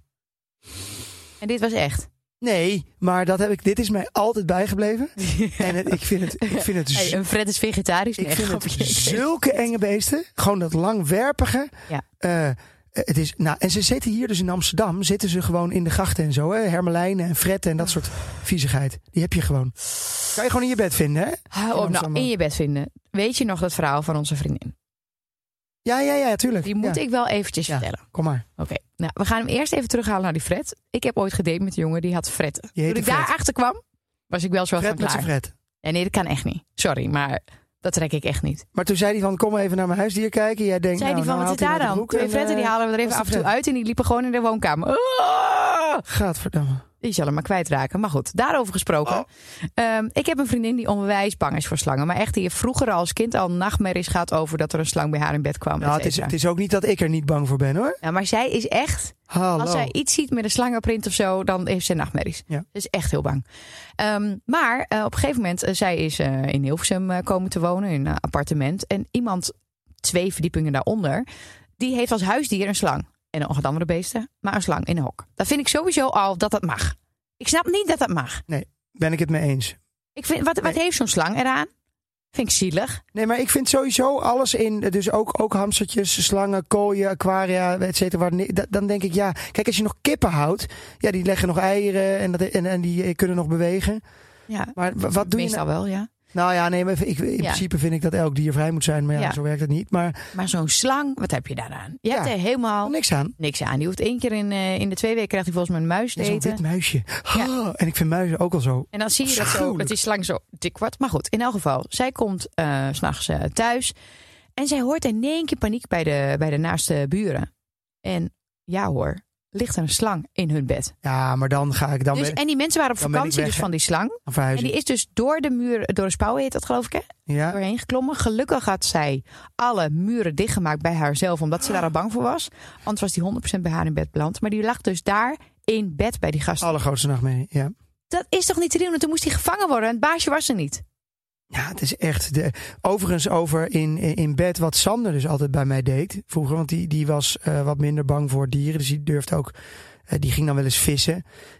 En dit was echt. Nee, maar dat heb ik, dit is mij altijd bijgebleven. En het- ik vind het, ik vind het, Hey, z- een fret is vegetarisch. ik Nee, vind het grapje. zulke enge beesten. Gewoon dat langwerpige. Ja. Eh, het is, nou, en ze zitten hier dus in Amsterdam, zitten ze gewoon in de grachten en zo. Hè? Hermelijnen en fretten en dat soort viezigheid. Die heb je gewoon. Kan je gewoon in je bed vinden, hè? Hou op, nou, in je bed vinden. Weet je nog dat verhaal van onze vriendin? Ja, ja, ja, tuurlijk. Die moet Ja, ik wel eventjes Ja. vertellen. Kom maar. Oké, nou, we gaan hem eerst even terughalen naar die fret. Ik heb ooit gedate met een jongen die had fretten. Die Toen heette ik Fred. daar achter kwam, was ik wel zo van Fred met zijn klaar. Fred. Nee, nee, dat kan echt niet. Sorry, maar dat trek ik echt niet. Maar toen zei hij van, kom even naar mijn huisdier kijken. Jij denkt, Zei nou, die van, nou wat is haalt hij daar uit de dan? broek Twee en, fretten die eh, halen we er even was af en de toe uit. En die liepen gewoon in de woonkamer. Ah! Gadverdamme. Die zal hem maar kwijtraken. Maar goed, daarover gesproken. Oh. Ehm, ik heb een vriendin die onwijs bang is voor slangen. Maar echt, die heeft vroeger als kind al nachtmerries gehad over dat er een slang bij haar in bed kwam. Nou, het et is, cetera. het is ook niet dat ik er niet bang voor ben, hoor. Ja, maar zij is echt... Hallo. Als zij iets ziet met een slangenprint of zo, dan heeft ze nachtmerries. Ja. Ze is echt heel bang. Ehm, maar eh, op een gegeven moment, eh, zij is eh, in Hilversum eh, komen te wonen, in een appartement. En iemand, twee verdiepingen daaronder, die heeft als huisdier een slang. En nog wat andere beesten, maar een slang in een hok. Dat vind ik sowieso al dat dat mag. Ik snap niet dat dat mag. Ben ik het mee eens. Ik vind, wat, wat Nee. heeft zo'n slang eraan? Vind ik zielig. Nee, maar ik vind sowieso alles in, dus ook, ook hamstertjes, slangen, kooien, aquaria, et cetera. waar ni- da- Dan denk ik, ja, kijk, als je nog kippen houdt, ja, die leggen nog eieren en, dat, en, en die eh, kunnen nog bewegen. Ja, Maar wa- wat doe je nou? meestal wel, ja. Nou ja, nee, maar ik, in principe vind ik dat elk dier vrij moet zijn, maar ja, Ja. zo werkt het niet. Maar Maar zo'n slang, wat heb je daaraan? Je Ja. hebt er helemaal niks aan. niks aan. Die hoeft één keer in, eh, in de twee weken, krijgt hij volgens mij een muis te Ja, Zo'n eten. wit muisje. Ja. En ik vind muizen ook al zo. En dan zie je dat, zo, Afschuwelijk. dat die slang zo dik wordt. Maar goed, in elk geval, zij komt eh, 's s'nachts thuis. En zij hoort in één keer paniek bij de, bij de naaste buren. En ja hoor, ligt er een slang in hun bed. Ja, maar dan ga ik dan dus, weer en die mensen waren op dan ben ik vakantie weg, dus hè. van die slang. En verhuizen. die is dus door de muur, door de spouwen heet dat geloof ik hè, Ja. doorheen geklommen. Gelukkig had zij alle muren dichtgemaakt bij haarzelf, omdat ze daar al bang voor was. Anders was die 100% bij haar in bed beland. Maar die lag dus daar in bed bij die gasten. Allergrootste nachtmerrie, ja. Dat is toch niet te doen? En toen moest hij gevangen worden en het baasje was er niet. Ja, het is echt. De, overigens, over in, in in bed, wat Sander dus altijd bij mij deed vroeger. Want die, die was eh, wat minder bang voor dieren. Dus die durfde ook. eh, die ging dan wel eens vissen.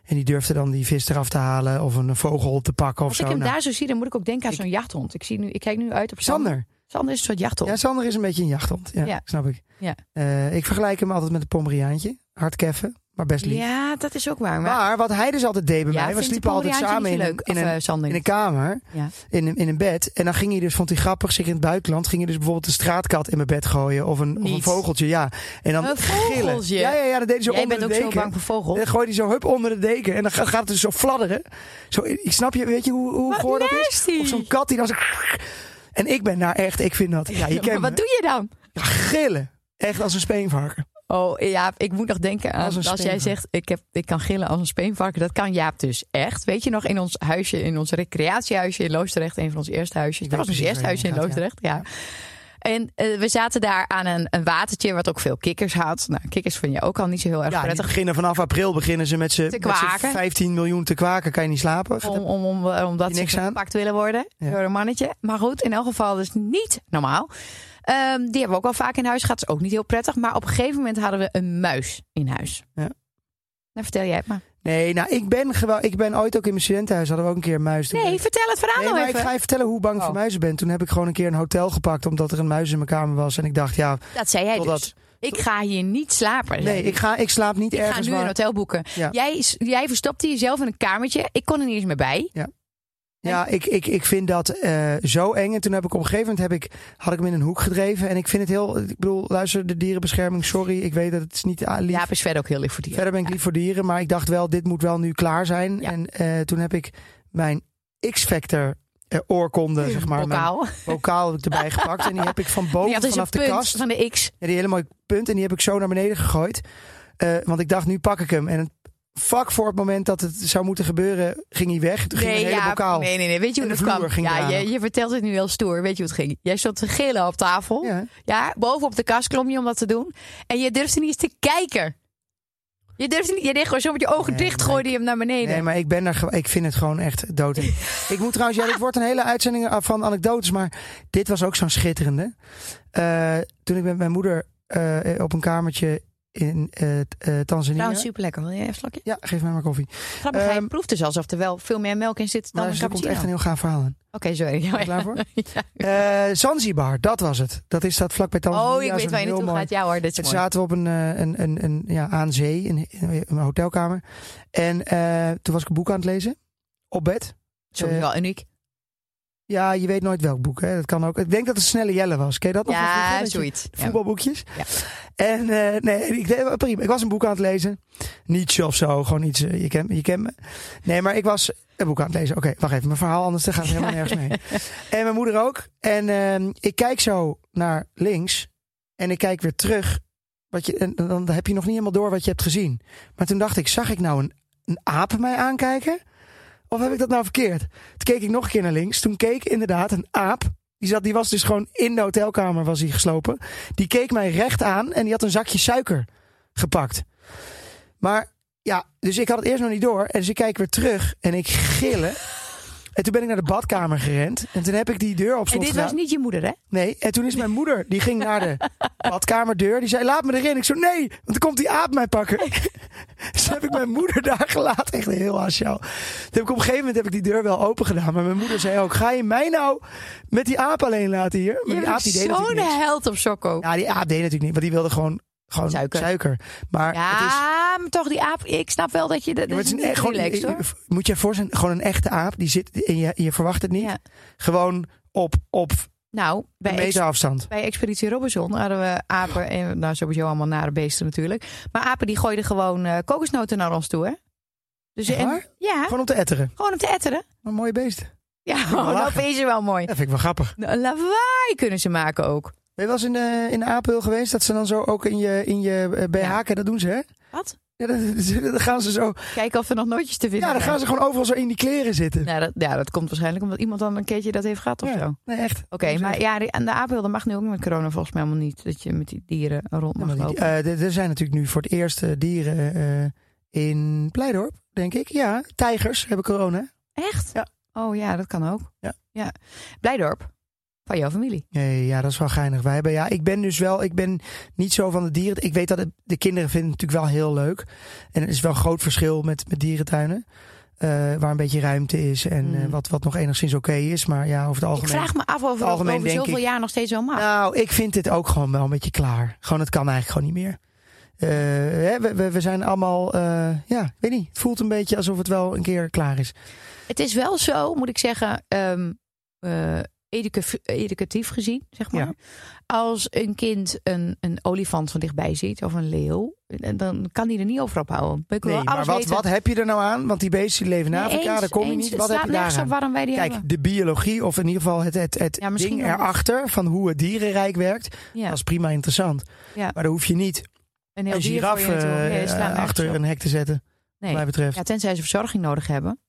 En die durfde dan die vis eraf te halen. Of een vogel te pakken of Als zo. ik hem Nou, daar zo zie, dan moet ik ook denken aan ik- zo'n jachthond. Ik, zie nu, ik kijk nu uit op Sander. Sander. Sander is een soort jachthond. Ja, Sander is een beetje een jachthond. Ja, Ja. snap ik. Ja. Eh, ik vergelijk hem altijd met een Pomeriaantje. Hard keffen, maar best lief. Ja, dat is ook waar. Maar, Maar wat hij dus altijd deed bij ja, mij. We vindt sliepen de altijd Pomeriaantje samen in, niet zo een- in Of, een eh, Sander in een niet. kamer. Ja. In, een- in een bed. En dan ging hij dus, vond hij grappig, zich in het buitenland. Ging hij dus bijvoorbeeld een straatkat in mijn bed gooien. Of een, of een Niet. vogeltje, ja. En dan Een gillen. vogeltje? Ja, ja, ja, dat deed hij zo Jij onder bent ook de zo deken. bang voor vogels. En dan gooit hij zo hup onder de deken. En dan ga- gaat het dus zo fladderen. Zo, ik snap je, weet je hoe, hoe Wat goor dat is? nasty. Of zo'n kat die dan zo... En ik ben daar echt, ik vind dat... Ja, je Maar kent wat me. doe je dan? Ja, Gillen. Echt als een speenvarken. Oh, Jaap, ik moet nog denken aan Als een als, jij speenvark. zegt ik, heb, ik kan gillen als een speenvarken. Dat kan Jaap dus echt. Weet je nog, in ons huisje, in ons recreatiehuisje in Loosdrecht. Een van onze eerste huisjes. Ik Dat weet was ons precies eerste waar je huisje in heen gaat, Loosdrecht, ja. En eh, we zaten daar aan een, een watertje wat ook veel kikkers had. Nou, kikkers vind je ook al niet zo heel erg Ja, die prettig. beginnen vanaf april beginnen ze met z'n Te met z'n kwaken. 15 miljoen te kwaken. Kan je niet slapen? Om, om, om, omdat Die ze niks aan. gepakt willen worden Ja. door een mannetje. Maar goed, in elk geval dus niet normaal. Ehm, die hebben we ook al vaak in huis gehad. is ook niet heel prettig. Maar op een gegeven moment hadden we een muis in huis. Ja. Nou, vertel jij het maar. Nee, nou, ik ben, gewoon, ik ben ooit ook in mijn studentenhuis. Hadden we ook een keer een muis. Toen ben Nee, ik- vertel het verhaal Nee, nou maar ik even. ga je vertellen hoe bang ik Oh. voor muizen ben. Toen heb ik gewoon een keer een hotel gepakt. Omdat er een muis in mijn kamer was. En ik dacht, ja, Dat zei jij totdat- dus. Ik ga hier niet slapen. zei nee, hij. ik, ga, ik slaap niet Ik ga ergens. nu waar- een hotel boeken. Ja. Jij, s- jij verstopte jezelf in een kamertje. Ik kon er niet eens meer bij. Ja, ik, ik, ik vind dat eh, zo eng. En toen heb ik op een gegeven moment heb ik, had ik hem in een hoek gedreven. En ik vind het heel. Ik bedoel, luister, de dierenbescherming, sorry. Ik weet dat het is niet ah, lief. Jaap is verder ook heel lief voor dieren. Verder ben ik lief voor dieren. Maar ik dacht wel, dit moet wel nu klaar zijn. Ja. En eh, toen heb ik mijn X-Factor eh, oorkonde, zeg maar. Mijn Bokaal. bokaal heb ik erbij gepakt. En die heb ik van Die boven had dus een vanaf de punt kast. van de X. Ja, die hele mooie punt. En die heb ik zo naar beneden gegooid. Eh, want ik dacht, nu pak ik hem. En het vlak voor het moment dat het zou moeten gebeuren, ging hij weg. Toen ging een hele Jaap, bokaal. nee, nee, nee. Weet je En hoe de dat kwam? vloer ging ja, eraan je, je vertelt het nu heel stoer. Weet je hoe het ging? Jij stond te gillen op tafel. Ja, Ja. boven op de kast klom je om dat te doen. En je durfde niet eens te kijken. Je durfde niet. Je deed gewoon zo met je ogen Nee, dicht. maar Gooide je hem naar beneden. Nee, maar ik ben er, ge- ik vind het gewoon echt dood. ik moet trouwens, ja, dit wordt een hele uitzending eh, van anekdotes, maar dit was ook zo'n schitterende. Eh, toen ik met mijn moeder eh, op een kamertje in eh, eh, Tanzania. Trouwens, super lekker. Nou, Wil jij even een slokje? Ja, geef mij maar koffie. Grappig, hij Ehm, proeft dus alsof er wel veel meer melk in zit dan Maar een er komt cappuccino. echt een heel gaaf verhaal aan. Oké, sorry. Ben je klaar voor? Ja. Eh, Zanzibar, dat was het. Dat is dat vlak bij Tanzania. Oh, ik weet Zo'n waar je heel naartoe mooi- gaat. Ja hoor, dit is Toen mooi. zaten we op een, eh, een, een, een ja, aan zee, een, een hotelkamer. En eh, toen was ik een boek aan het lezen. Op bed. Sorry, eh, wel uniek. Ja, je weet nooit welk boek. Hè? Dat kan ook. Ik denk dat het Snelle Jelle was. Ken je dat nog? van vroeger? Ja, Dat je- zoiets. Ja. Voetbalboekjes. Ja. En eh, nee, ik, deed- prima. ik was een boek aan het lezen. Nietzsche of zo. Gewoon iets. eh, je kent je kent me. Nee, maar ik was een boek aan het lezen. Oké, wacht even. Mijn verhaal anders dan gaat het helemaal nergens mee. En mijn moeder ook. En ehm, ik kijk zo naar links. En ik kijk weer terug. Wat je, en dan heb je nog niet helemaal door wat je hebt gezien. Maar toen dacht ik, zag ik nou een, een aap mij aankijken? Of heb ik dat nou verkeerd? Toen keek ik nog een keer naar links. Toen keek inderdaad een aap. Die, zat, die was dus gewoon in de hotelkamer was hij geslopen. Die keek mij recht aan en die had een zakje suiker gepakt. Maar ja, dus ik had het eerst nog niet door. En dus ik kijk weer terug en ik gillen. En toen ben ik naar de badkamer gerend. En toen heb ik die deur op En slot dit gedaan. was niet je moeder, hè? Nee, en toen is mijn moeder, die ging naar de badkamerdeur. Die zei, laat me erin. Ik zo, nee, want dan komt die aap mij pakken. dus heb ik mijn moeder daar gelaten. Echt heel asjaal. Toen heb ik op een gegeven moment heb ik die deur wel open gedaan. Maar mijn moeder zei ook, ga je mij nou met die aap alleen laten hier? Maar Je die aap bent die deed natuurlijk zo'n niks. held op Sokko. Ja, die aap deed natuurlijk niet, want die wilde gewoon, gewoon Suiker. suiker. Maar Ja, het is... maar toch die aap. Ik snap wel dat je... Dat Ja, maar het is is een, niet echt- gewoon, relaxed, hoor. moet je je voorstellen, gewoon een echte aap. Die zit, en je, je verwacht het niet. Ja. Gewoon op, op Nou, een bij, meter afstand. bij Expeditie Robinson hadden we apen... En, nou, sowieso allemaal nare beesten natuurlijk. Maar apen die gooiden gewoon eh, kokosnoten naar ons toe, hè? Dus, Echt en- waar? ja, Gewoon om te etteren. gewoon om te etteren. Een mooie beest. Ja, wel dat lachen. is ze wel mooi. Dat oh, nou vind ik wel grappig. Een lawaai kunnen ze maken ook. Ben je wel eens in, eh in de Apel geweest? Dat ze dan zo ook in je, in je eh, BH, Ja. dat doen ze hè? Wat? Ja, dan, dan gaan ze zo, Kijken of er nog nootjes te vinden ja, dan gaan zijn. ze gewoon overal zo in die kleren zitten. Nou, dat, ja, dat komt waarschijnlijk omdat iemand dan een keertje dat heeft gehad of Ja. zo. Oké, Nee, echt. maar ja, die- en de apen dat mag nu ook met corona volgens mij helemaal niet. Dat je met die dieren rond Ja, mag maar die- lopen. eh, er- er zijn natuurlijk nu voor het eerst eh, dieren eh, in Pleidorp, denk ik. Ja, tijgers hebben corona. Echt? Ja. Oh ja, dat kan ook. Ja. ja. Blijdorp. Van jouw familie. Nee, ja, dat is wel geinig. Wij hebben, ja, ik ben dus wel, ik ben niet zo van de dieren. Ik weet dat het- de kinderen vinden het natuurlijk wel heel leuk. En er is wel een groot verschil met, met dierentuinen. eh, waar een beetje ruimte is en Mm. eh, wat, wat nog enigszins oké is. Maar ja, over het Ik algemeen... vraag me af of het dat algemeen over denk zoveel ik- jaar nog steeds zo mag. Nou, ik vind dit ook gewoon wel een beetje klaar. Gewoon, het kan eigenlijk gewoon niet meer. Eh, hè, we, we, we zijn allemaal, eh, ja, ik weet niet. Het voelt een beetje alsof het wel een keer klaar is. Het is wel zo, moet ik zeggen, ehm, eh, educa- educatief gezien, zeg maar. Ja. Als een kind een, een olifant van dichtbij ziet of een leeuw, eh, dan kan die er niet over ophouden. Maar ik wil Nee, wel maar alles wat, weten. wat heb je er nou aan? Want die beesten die leven in Nee, Afrika, eens, daar kom je eens. niet. Het Wat heb slaat je nergens daar op waarom wij die Kijk, hebben. de biologie of in ieder geval het, het, het Ja, misschien ding wel. erachter van hoe het dierenrijk werkt, Ja. dat is prima interessant. Ja. Maar daar hoef je niet een heel een dier giraf voor je naartoe. eh, Nee, dat slaat nergens achter op. een hek te zetten, Nee. wat mij betreft. Ja, tenzij ze verzorging nodig hebben.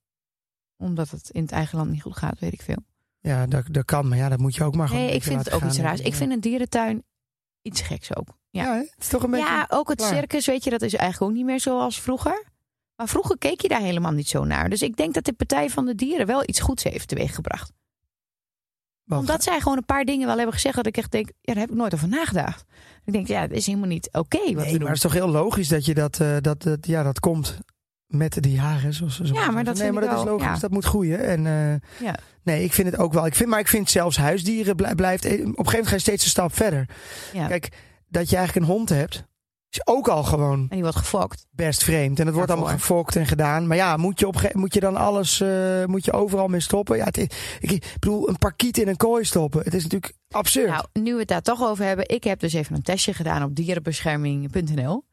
Omdat het in het eigen land niet goed gaat, weet ik veel. Ja, dat, dat kan, maar ja, dat moet je ook maar gewoon. nee, een ik beetje vind het ook laten iets gaan, raars. denk Ik vind een dierentuin iets geks ook. Ja, ja. hè? het is toch een beetje. ja, ook het klaar. circus, weet je, dat is eigenlijk ook niet meer zoals vroeger. Maar vroeger keek je daar helemaal niet zo naar. Dus ik denk dat de Partij van de Dieren wel iets goeds heeft teweeggebracht. Want- Omdat zij gewoon een paar dingen wel hebben gezegd dat ik echt denk, ja, daar heb ik nooit over nagedacht. Ik denk, ja, het is helemaal niet oké wat nee, we maar doen. het is toch heel logisch dat je dat, eh, dat, dat, ja, dat komt met die haren. Zoals ze zo Ja, zeggen. maar dat nee, vind maar ik dat is wel, logisch. ja. Dat moet groeien. En, eh, Ja. Nee, ik vind het ook wel. Ik vind, maar ik vind zelfs huisdieren blij- blijft. eh, Op een gegeven moment ga je steeds een stap verder. Ja. Kijk, dat je eigenlijk een hond hebt, is ook al gewoon En die wordt gefokt. best vreemd. En dat wordt Daarvoor. allemaal gefokt en gedaan. Maar ja, moet je, op, een gege- moet je dan alles, eh, moet je overal mee stoppen? Ja, het, ik, ik bedoel, een parkiet in een kooi stoppen. Het is natuurlijk absurd. Nou, nu we het daar toch over hebben. Ik heb dus even een testje gedaan op dierenbescherming.nl.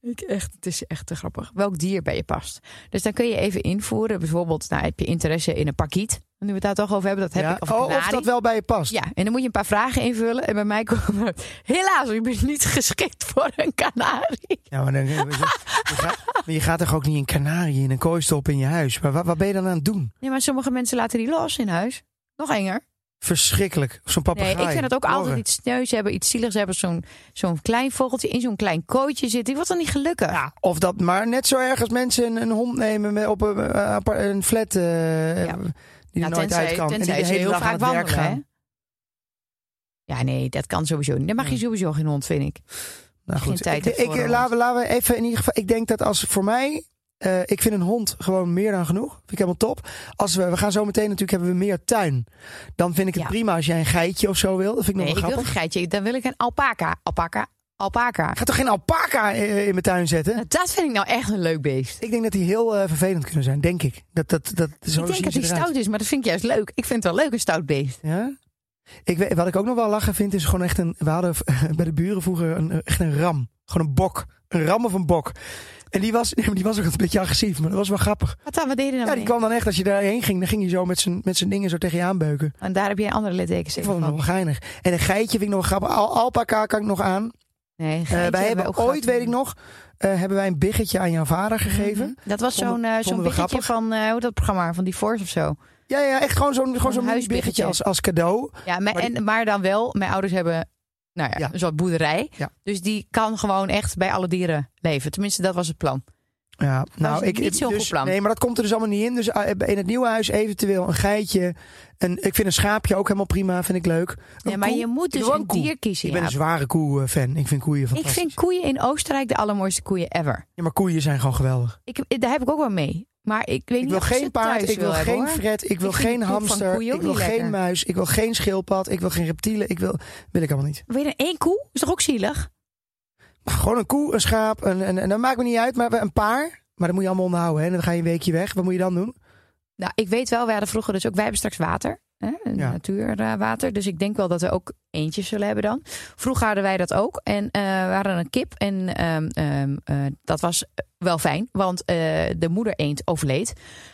Ik echt, het is echt te grappig. Welk dier bij je past. Dus dan kun je even invoeren. Bijvoorbeeld, nou, heb je interesse in een pakiet? Nu we het daar toch over hebben, dat heb ja. ik. Of een oh, of kanarie. dat wel bij je past. Ja, en dan moet je een paar vragen invullen. En bij mij kwam er, helaas, u bent niet geschikt voor een kanarie. Ja, maar dan, je, gaat, maar je gaat toch ook niet een kanarie in een kooi stoppen in je huis? Maar wat, wat ben je dan aan het doen? Nee, maar sommige mensen laten die los in huis. Nog enger. Verschrikkelijk. Zo'n Nee, papegaai. ik vind dat ook altijd Horror. iets sneus hebben, iets zieligs hebben. Zo'n zo'n klein vogeltje in zo'n klein kootje zit. Die wordt dan niet gelukkig. Ja, of dat, maar net zo erg als mensen een, een hond nemen met, op een, eh, apart- een flat eh, Ja. die er Nou, nooit uit kan. tenzij en die ze de hele heel dag vaak aan het werk wandelen, gaan. hè? Ja, nee, dat kan sowieso niet. Dan mag je Nee. sowieso geen hond, vind ik. Nou Geen goed, tijd ik, hebt ik, voor een laten, we, laten we even in ieder geval. Ik denk dat als voor mij. eh, ik vind een hond gewoon meer dan genoeg. Vind ik helemaal top. Als we, we gaan zo meteen natuurlijk hebben we meer tuin. Dan vind ik het Ja. prima als jij een geitje of zo wil. Dat vind ik nog Nee, ik wel wil grappig. een geitje. Dan wil ik een alpaca. Alpaca. Alpaca. Ik ga toch geen alpaca eh, in mijn tuin zetten? Nou, Dat vind ik nou echt een leuk beest. Ik denk dat die heel eh, vervelend kunnen zijn, denk ik. Dat, dat, dat, zo ik denk zien dat ze hij eruit. stout is, maar dat vind ik juist leuk. Ik vind het wel leuk, een stout beest. Ja? Ik weet, wat ik ook nog wel lachen vind, is gewoon echt een... We hadden v- bij de buren vroeger een, eh, echt een ram. Gewoon een bok. Een ram of een bok. En die was, nee, maar die was ook een beetje agressief, maar dat was wel grappig. Wat dan? Wat deed hij nou Ja, die mee? kwam dan echt, als je daarheen ging, dan ging hij zo met zijn, met zijn dingen zo tegen je aanbeuken. En daar heb je andere littekens Ik in. vond het nog wel geinig. En een geitje vind ik nog wel grappig. Al, alpaca kan ik nog aan. Nee, Eh, geitje wij hebben we ook ooit, gehad. weet ik nog, eh, hebben wij een biggetje aan jouw vader gegeven. Mhm. Dat was Vonden- zo'n eh, zo'n vonden we biggetje grappig. van, eh, hoe dat programma, van die Force of zo. Ja, ja, echt gewoon zo'n gewoon zo'n huisbiggetje. biggetje als, als cadeau. Ja, maar, Maar die- en, maar dan wel, mijn ouders hebben nou ja, Ja. een soort boerderij. Ja. Dus die kan gewoon echt bij alle dieren leven. Tenminste, dat was het plan. Ja, nou, is ik, niet zo'n dus- goed plan. Nee, maar dat komt er dus allemaal niet in. Dus eh, in het nieuwe huis eventueel een geitje. Een, ik vind een schaapje ook helemaal prima, vind ik leuk. Een Ja, maar koe. je moet Ik dus wil een koe. dier kiezen. Ik ben Jaap. een zware koe-fan. Ik vind koeien ik fantastisch. vind koeien in Oostenrijk de allermooiste koeien ever. Ja, maar koeien zijn gewoon geweldig. Ik, daar heb ik ook wel mee. Maar ik weet Ik niet wil of ik ze geen paard, thuis ik wil hebben, geen hoor. fret, ik wil vind geen de poep van hamster, koeien ook ik wil niet geen lekker. muis, ik wil geen schildpad, ik wil geen reptielen. Ik wil, wil ik allemaal niet. Weet je, één koe? Is toch ook zielig? Maar gewoon een koe, een schaap, een, een, en dat maakt me niet uit. Maar een paar, maar dat moet je allemaal onderhouden. Hè. En dan ga je een weekje weg. Wat moet je dan doen? Nou, ik weet wel, wij hadden vroeger dus ook, wij hebben straks water. Hè? een Ja. Natuurwater. Dus ik denk wel dat we ook eentjes zullen hebben dan. Vroeger hadden wij dat ook. En eh, we hadden een kip. En ehm, ehm, eh, dat was wel fijn. Want eh, de moeder eend overleed.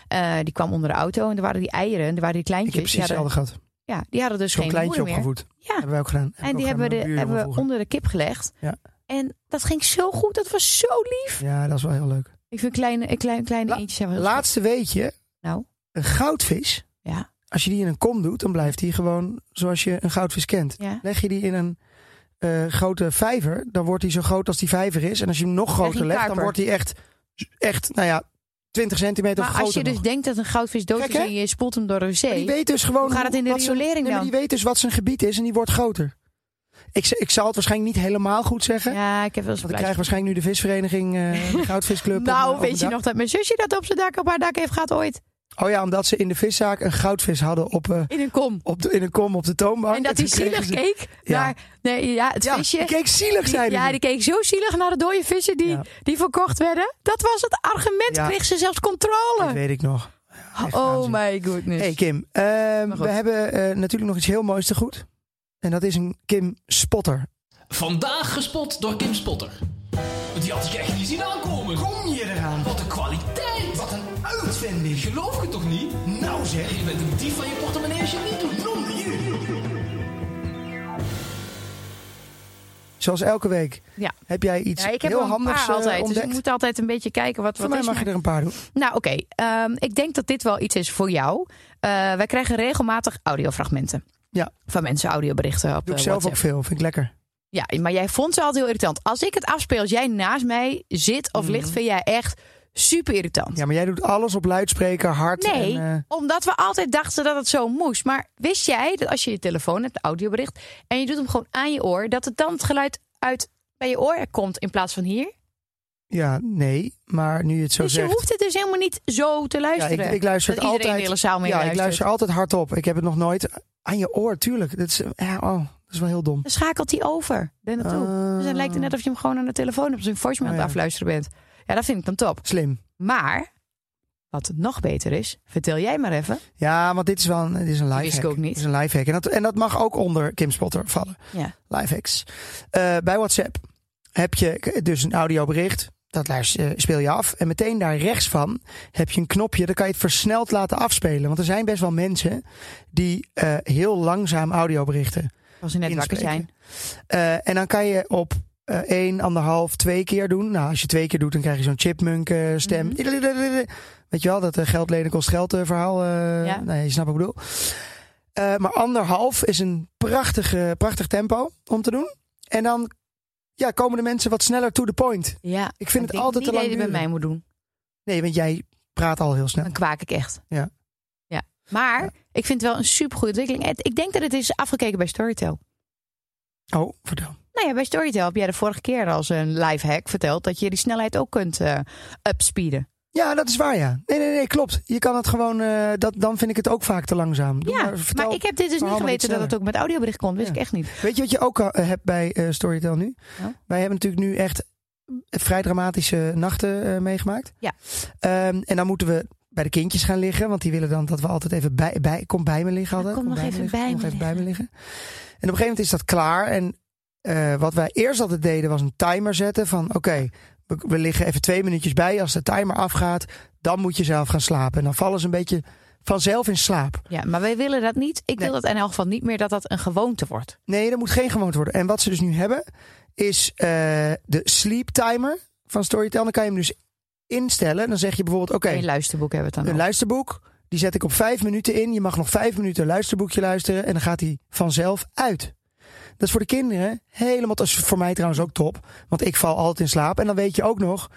Eh, die kwam onder de auto. En er waren die eieren. En er waren die Ik kleintjes. heb precies die, hadden, hetzelfde gehad. ja, die hadden dus Zo'n geen kleintje moeder meer. opgevoed. Ja. Hebben wij ook gedaan. Heb ik En die ook hebben, gedaan de, met mijn buurjongen hebben we vroeger. onder de kip gelegd. Ja. En dat ging zo goed. Dat was zo lief. Ja, dat is wel heel leuk. Ik vind kleine, kleine, kleine La- eentjes hebben we- Laatste weetje. Dus- Nou. Een goudvis. Ja. Als je die in een kom doet, dan blijft die gewoon zoals je een goudvis kent. Ja. Leg je die in een eh, grote vijver, dan wordt die zo groot als die vijver is. En als je hem nog je groter een legt, dan kuiper. wordt die echt, echt nou ja, 20 centimeter Maar groter. als je dus nog. denkt dat een goudvis dood Gek, is hè? en je spoelt hem door de wc. Maar die weet dus gewoon Hoe gaat het in de wat zijn- riolering nee, maar dan? Die weet dus wat zijn gebied is en die wordt groter. Ik, z- ik zal het waarschijnlijk niet helemaal goed zeggen. Ja, ik heb wel eens een want ik krijg plaatje. waarschijnlijk nu de visvereniging, eh, de goudvisclub. en, Nou, eh, weet je overdag. nog dat mijn zusje dat op zijn dak op haar dak heeft gehad ooit? Oh ja, omdat ze in de viszaak een goudvis hadden op, eh, In een kom. op de, in een kom op de toonbank. En dat hij toen kregen zielig ze- keek. Ja. Maar nee, ja, het Ja, visje. die keek zielig, zei ja, hij. die keek zo zielig naar de dode vissen die, Ja. die verkocht werden. Dat was het argument. Ja. Kreeg ze zelfs Dat controle. weet ik nog. echt Oh waanzin. my goodness. hey Kim, ehm, goed. we hebben eh, natuurlijk nog iets heel moois te goed. En dat is een Kim Spotter. Vandaag gespot door Kim Spotter. Die had ik echt niet zien aankomen. Kom je eraan? Wat een kwaliteit! Wat een... Uitvinding. Geloof ik het toch niet? Nou zeg, Je bent een dief van je portemonnee als je het niet doet. non je. Zo zoals elke week. Ja. Heb jij iets Ja, ik heb heel er een handigs paar eh, altijd, dus ontdekt? ik moet altijd een beetje kijken wat, Voor wat mij is mag je er mijn- een paar doen. Nou, oké. Ehm, ik denk dat dit wel iets is voor jou. Eh, wij krijgen regelmatig audiofragmenten. Ja. Van mensen audioberichten op Doe ik eh, zelf ook WhatsApp. veel. Vind ik lekker. Ja, maar jij vond ze altijd heel irritant. Als ik het afspeel, als jij naast mij zit of ligt, vind jij echt super irritant. Mhm. Ja, maar jij doet alles op luidspreker, hard. Nee, En, eh, omdat we altijd dachten dat het zo moest. Maar wist jij dat als je je telefoon hebt, een audiobericht, en je doet hem gewoon aan je oor, dat het dan het geluid uit bij je oor komt in plaats van hier? ja, nee. Maar nu je het zo dus je zegt. hoeft het dus helemaal niet zo te ja, luisteren. ik, ik luister dat het iedereen altijd. de hele zaal mee ja, ik luistert. luister altijd hardop. Ik heb het nog nooit aan je oor, tuurlijk. Dat is, ja, oh, dat is wel heel dom. Dan schakelt hij over. Ben dat toe. Dus het lijkt het net of je hem gewoon aan de telefoon op zijn voicemail aan Oh het ja. afluisteren bent. Ja, dat vind ik dan top. Eh, Slim. Maar, wat nog beter is, vertel jij maar even. Ja, want dit is wel een, dit is een lifehack. wist ik ook niet. Dit is een lifehack. En dat, en dat mag ook onder Kim Spotter vallen. Ja. Lifehacks. Eh, bij WhatsApp heb je k- dus een audiobericht. Dat luister, eh, speel je af. En meteen daar rechts van heb je een knopje. Dan kan je het versneld laten afspelen. Want er zijn best wel mensen die eh, heel langzaam audioberichten. Als ze net wakker Inspreken. zijn. Eh, en dan kan je op eh één, anderhalf, twee keer doen. Nou, als je twee keer doet, dan krijg je zo'n chipmunk eh, stem. Mhm. Weet je wel, dat eh, geld lenen kost geld eh, verhaal. eh, Ja. Nee, je snapt wat ik bedoel. Eh, maar anderhalf is een prachtige, prachtig tempo om te doen. En dan ja, komen de mensen wat sneller to the point. Ja. Ik vind het denk altijd niet te lang dat je bij duren. mij moet doen. Nee, want jij praat al heel snel. Dan kwaak ik echt. Ja. ja. Maar Ja. ik vind het wel een supergoede ontwikkeling. Het- Ik denk dat het is afgekeken bij Storytel. Oh, vertel. Nou ja, bij Storytel heb jij de vorige keer als een live hack verteld dat je die snelheid ook kunt eh upspeeden. Ja, dat is waar, ja. Nee, nee, nee, klopt. Je kan het gewoon... eh, dat, dan vind ik het ook vaak te langzaam. Doe ja, maar, vertel. maar ik heb dit dus niet verhaal maar iets geweten dat het sneller. ook met audiobericht kon. Wist Ja. ik echt niet. Weet je wat je ook eh, hebt bij eh, Storytel nu? Nou? Wij hebben natuurlijk nu echt vrij dramatische nachten eh, meegemaakt. Ja. Ehm, en dan moeten we bij de kindjes gaan liggen. Want die willen dan dat we altijd even bij... bij kom bij me liggen altijd. kom nog even liggen, bij kom me nog even bij me liggen. En op een gegeven moment is dat klaar. En eh, wat wij eerst altijd deden was een timer zetten van... Oké, we, we liggen even twee minuutjes bij. Als de timer afgaat, dan moet je zelf gaan slapen. En dan vallen ze een beetje vanzelf in slaap. Ja, maar wij willen dat niet. Ik wil Nee. dat in elk geval niet meer dat dat een gewoonte wordt. Nee, dat moet geen gewoond worden. En wat ze dus nu hebben, is eh, de sleep timer van Storytel. Dan kan je hem dus instellen. Dan zeg je bijvoorbeeld, oké, Een luisterboek hebben we het een dan. ook. luisterboek. Die zet ik op vijf minuten in. Je mag nog vijf minuten een luisterboekje luisteren. En dan gaat hij vanzelf uit. Dat is voor de kinderen helemaal... Dat is voor mij trouwens ook top. Want ik val altijd in slaap. En dan weet je ook nog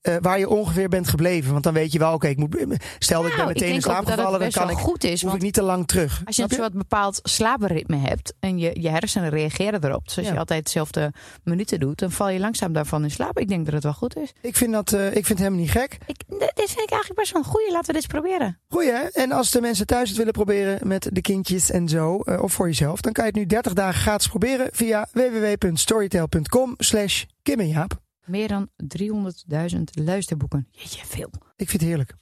eh, waar je ongeveer bent gebleven. Want dan weet je wel, oké, ik moet... Stel dat ik ben meteen Nou, in denk ook slaap dat het gevallen. Dan best kan wel ik, goed is. hoef Want ik niet te lang terug. Als je Snap een soort bepaald slaapritme hebt en je, je hersenen reageren erop. Dus als Ja. je altijd dezelfde minuten doet, dan val je langzaam daarvan in slaap. Ik denk dat het wel goed is. Ik vind, dat, eh, ik vind het helemaal niet gek. Ik, d- dit vind ik eigenlijk best wel een goeie. Laten we dit eens proberen. Goeie, hè? En als de mensen thuis het willen proberen met de kindjes en zo, eh, of voor jezelf, dan kan je het nu 30 dagen gratis proberen via www.storytel.com slash Kim en Jaap. Meer dan 300.000 luisterboeken. Jeetje, veel. Ik vind het heerlijk.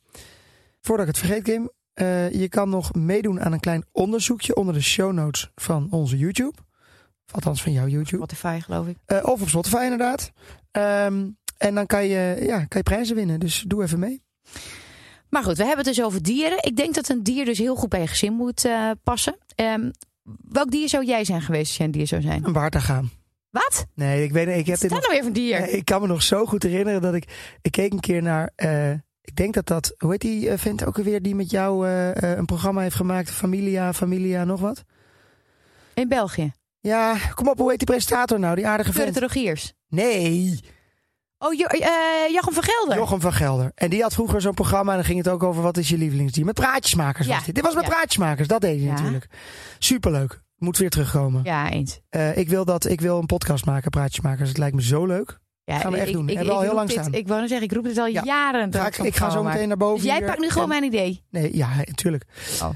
Voordat ik het vergeet, Kim, eh, je kan nog meedoen aan een klein onderzoekje onder de show notes van onze YouTube. Of Althans van jouw YouTube. Spotify, geloof ik. Eh, of op Spotify inderdaad. Ehm, en dan kan je, ja, kan je prijzen winnen, dus doe even mee. Maar goed, we hebben het dus over dieren. Ik denk dat een dier dus heel goed bij je gezin moet eh, passen. Ehm, welk dier zou jij zijn geweest als jij een dier zou zijn? Een baard aan gaan. Wat? Nee, ik weet niet, ik heb Wat is dit dat nou weer voor dier? Ja, Eh, ik kan me nog zo goed herinneren dat ik. Ik keek een keer naar. eh, ik denk dat dat. Hoe heet die eh, vent ook alweer die met jou eh, eh, een programma heeft gemaakt? Familia, Familia, nog wat? In België. Ja, kom op, hoe heet die presentator nou? Die aardige Gebeurt vent. het Rogiers? Nee, Oh, jo eh, Jochem van Gelder. Jochem van Gelder. En die had vroeger zo'n programma en dan ging het ook over wat is je lievelingsdier. Met praatjesmakers Ja. was dit. Dit was met Ja. praatjesmakers, dat deed hij Ja. natuurlijk. Superleuk. Moet weer terugkomen. Ja, eens. Eh, ik, wil dat, ik wil een podcast maken, praatjesmakers. Het lijkt me zo leuk. Ja, Gaan we echt ik- doen. Ik, Hebben we al ik heel roep lang dit- staan. Ik wou net zeggen, ik roep dit al Ja. jaren. Ga dat ik, het ik ga zo programma meteen maak. naar boven. Dus jij hier. pakt nu En- gewoon mijn idee. Nee, ja, natuurlijk. Oh.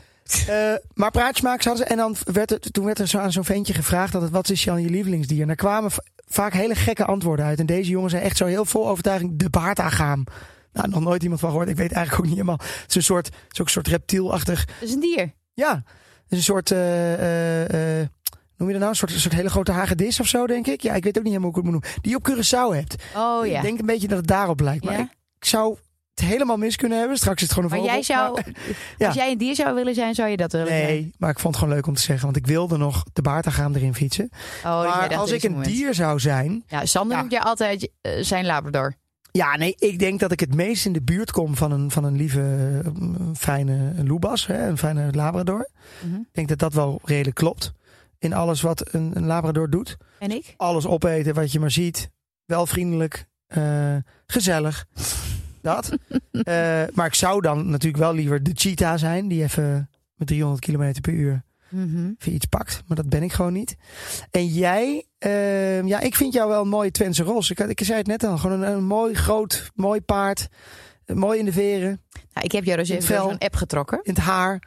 Eh, maar praatjesmakers hadden ze. En dan werd er, toen werd er zo aan zo'n ventje gevraagd: dat het, wat is Jan je lievelingsdier? En daar kwamen va- vaak hele gekke antwoorden uit. En deze jongen zei echt zo heel vol overtuiging: de baard aangaan. Nou, nog nooit iemand van gehoord. Ik weet eigenlijk ook niet helemaal. Het is een soort, het is ook een soort reptielachtig. Dat is een dier. Ja, het is een soort. eh, eh, eh, noem je dat nou? Een soort, een soort hele grote hagedis of zo, denk ik. Ja, ik weet ook niet helemaal hoe ik het moet noemen. Die je op Curaçao hebt. Oh ja. Ik denk een beetje dat het daarop lijkt. Maar Ja? ik, ik zou het helemaal mis kunnen hebben. Straks is het gewoon een Maar jij vogel, zou, ja. als jij een dier zou willen zijn, zou je dat willen zijn? Nee, maar ik vond het gewoon leuk om te zeggen. Want ik wilde nog de baartagaam erin fietsen. Oh, dus jij maar dacht als op ik dit een moment. dier zou zijn... Ja, Sander Ja. noemt jij altijd eh, zijn labrador. Ja, nee, ik denk dat ik het meest in de buurt kom van een, van een lieve, eh, fijne loebas. Hè, een fijne labrador. Mhm. Ik denk dat dat wel redelijk klopt. In alles wat een, een labrador doet. En ik? Alles opeten wat je maar ziet. Wel vriendelijk. eh, gezellig. Dat. Eh, maar ik zou dan natuurlijk wel liever de cheetah zijn. Die even met 300 km per uur Mhm. even iets pakt. Maar dat ben ik gewoon niet. En jij, ehm, ja, ik vind jou wel een mooie Twentse ros. Ik, had- ik zei het net al, gewoon een, een mooi groot, mooi paard. Eh, Mooi in de veren, Nou, ik heb jou dus Het even vel. door zo'n app getrokken. in het haar,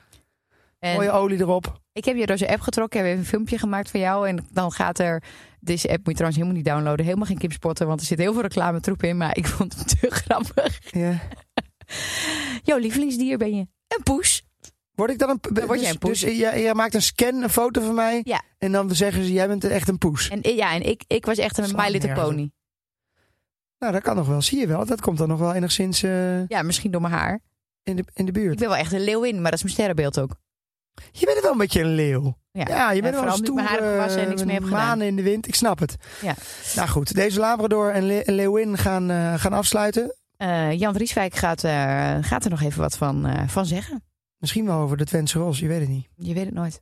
En mooie olie erop. Ik heb je door zo'n app getrokken. Heb even een filmpje gemaakt van jou. En dan gaat er. Deze app moet je trouwens helemaal niet downloaden. Helemaal geen kimspotten. Want er zit heel veel reclametroep in. Maar ik vond het te grappig. Ja. Jouw lievelingsdier ben je. Een poes. Word ik dan een Dan word jij een poes. Dus, eh, jij, jij maakt een scan, een foto van mij. Ja. En dan zeggen ze, jij bent echt een poes. En eh, ja, en ik, ik was echt een Slaat My Little nergens op. Pony. Nou, dat kan nog wel, zie je wel. Dat komt dan nog wel enigszins eh, Ja, misschien door mijn haar. in, de, in de Ik buurt. ben wel echt een leeuwin. Maar dat is mijn sterrenbeeld ook. Je bent wel een beetje een leeuw. Ja. Ja, je bent wel vooral een omdat ik mijn haar heb stoere, gewassen en niks meer heb manen gedaan. in de wind, ik snap het. Ja. Nou goed, deze Labrador en, Le- en Leeuwin gaan, eh, gaan afsluiten. Eh, Jan Rieswijk gaat, eh, gaat er nog even wat van, eh, van zeggen. Misschien wel over de Twentse Ros, je weet het niet. Je weet het nooit.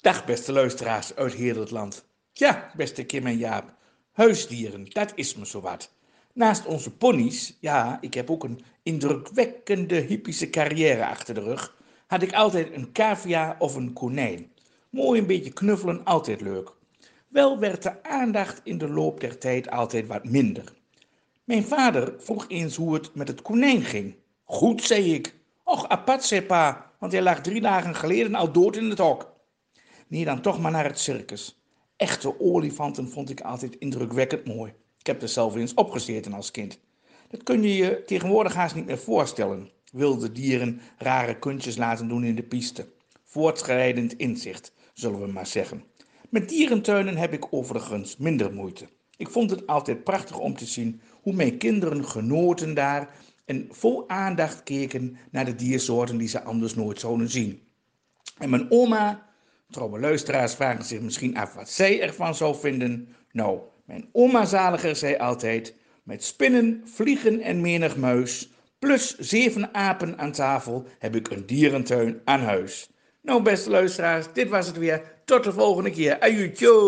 Dag beste luisteraars uit heel het land. Ja, beste Kim en Jaap. Huisdieren, dat is me zowat. Naast onze ponies, ja, ik heb ook een indrukwekkende hippische carrière achter de rug, had ik altijd een cavia of een konijn. Mooi een beetje knuffelen, altijd leuk. Wel werd de aandacht in de loop der tijd altijd wat minder. Mijn vader vroeg eens hoe het met het konijn ging. Goed, zei ik. Och, apart, zei pa, want hij lag drie dagen geleden al dood in het hok. Nee, dan toch maar naar het circus. Echte olifanten vond ik altijd indrukwekkend mooi. Ik heb er zelf eens opgezeten als kind. Dat kun je je tegenwoordig haast niet meer voorstellen. Wilde dieren rare kunstjes laten doen in de piste. Voortschrijdend inzicht, zullen we maar zeggen. Met dierentuinen heb ik overigens minder moeite. Ik vond het altijd prachtig om te zien hoe mijn kinderen genoten daar en vol aandacht keken naar de diersoorten die ze anders nooit zouden zien. En mijn oma, trouwe luisteraars vragen zich misschien af wat zij ervan zou vinden. Nou, mijn oma zaliger zei altijd, met spinnen, vliegen en menig muis, plus zeven apen aan tafel, heb ik een dierentuin aan huis. Nou, beste luisteraars, dit was het weer. Tot de volgende keer.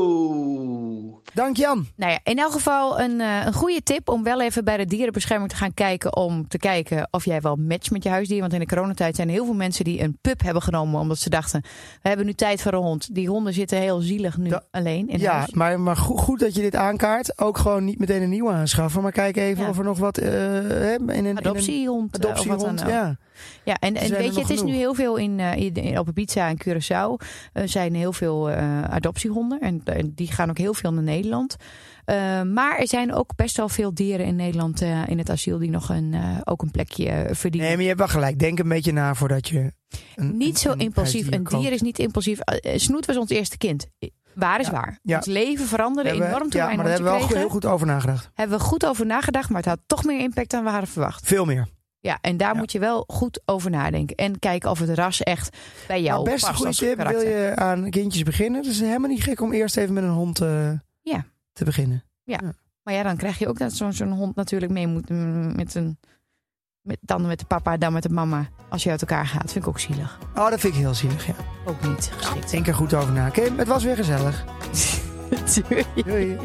Ajutjo! Dank Jan. Nou ja, in elk geval een, eh, een goede tip om wel even bij de dierenbescherming te gaan kijken. Om te kijken of jij wel matcht met je huisdier. Want in de coronatijd zijn er heel veel mensen die een pup hebben genomen. Omdat ze dachten, we hebben nu tijd voor een hond. Die honden zitten heel zielig nu Da- alleen in Ja, huis. maar, maar goed, goed dat je dit aankaart. Ook gewoon niet meteen een nieuwe aanschaffen, maar kijk even Ja. of er nog wat eh, hè, in een- in een Adoptiehond. eh, of wat dan adoptiehond. ook. Ja. Ja, en, en zijn er weet je, nog het is nu genoeg. heel veel in, eh, in, in- op Ibiza en Curaçao eh, zijn heel veel eh, adoptiehonden. En, en die gaan ook heel veel naar Nederland. Eh, maar er zijn ook best wel veel dieren in Nederland eh, in het asiel die nog een, eh, ook een plekje eh, verdienen. Nee, maar je hebt wel gelijk. Denk een beetje na voordat je. een- niet zo een- impulsief. Een koopt. dier is niet impulsief. Eh, eh, Snoet was ons eerste kind. Eh, Waar is Ja, waar. ja. Ons leven veranderde Hebben- enorm toen Ja, wij een maar daar hondje hebben we wel kregen. heel goed over nagedacht. Hebben we goed over nagedacht, maar het had toch meer impact dan we hadden verwacht. Veel meer. Ja, en daar Ja. moet je wel goed over nadenken. En kijken of het ras echt bij jou maar best een past goede als tip. karakter. Wil je aan kindjes beginnen? Het is helemaal niet gek om eerst even met een hond eh, Ja. te beginnen. Maar ja, dan krijg je ook dat zo'n zo'n hond natuurlijk mee moet mm, met een... Met, dan met de papa, dan met de mama. Als je uit elkaar gaat. Vind ik ook zielig. Oh, dat vind ik heel zielig. Ja. Ook niet geschikt. Denk er goed over na. Oké, het was weer gezellig. Natuurlijk. Doei.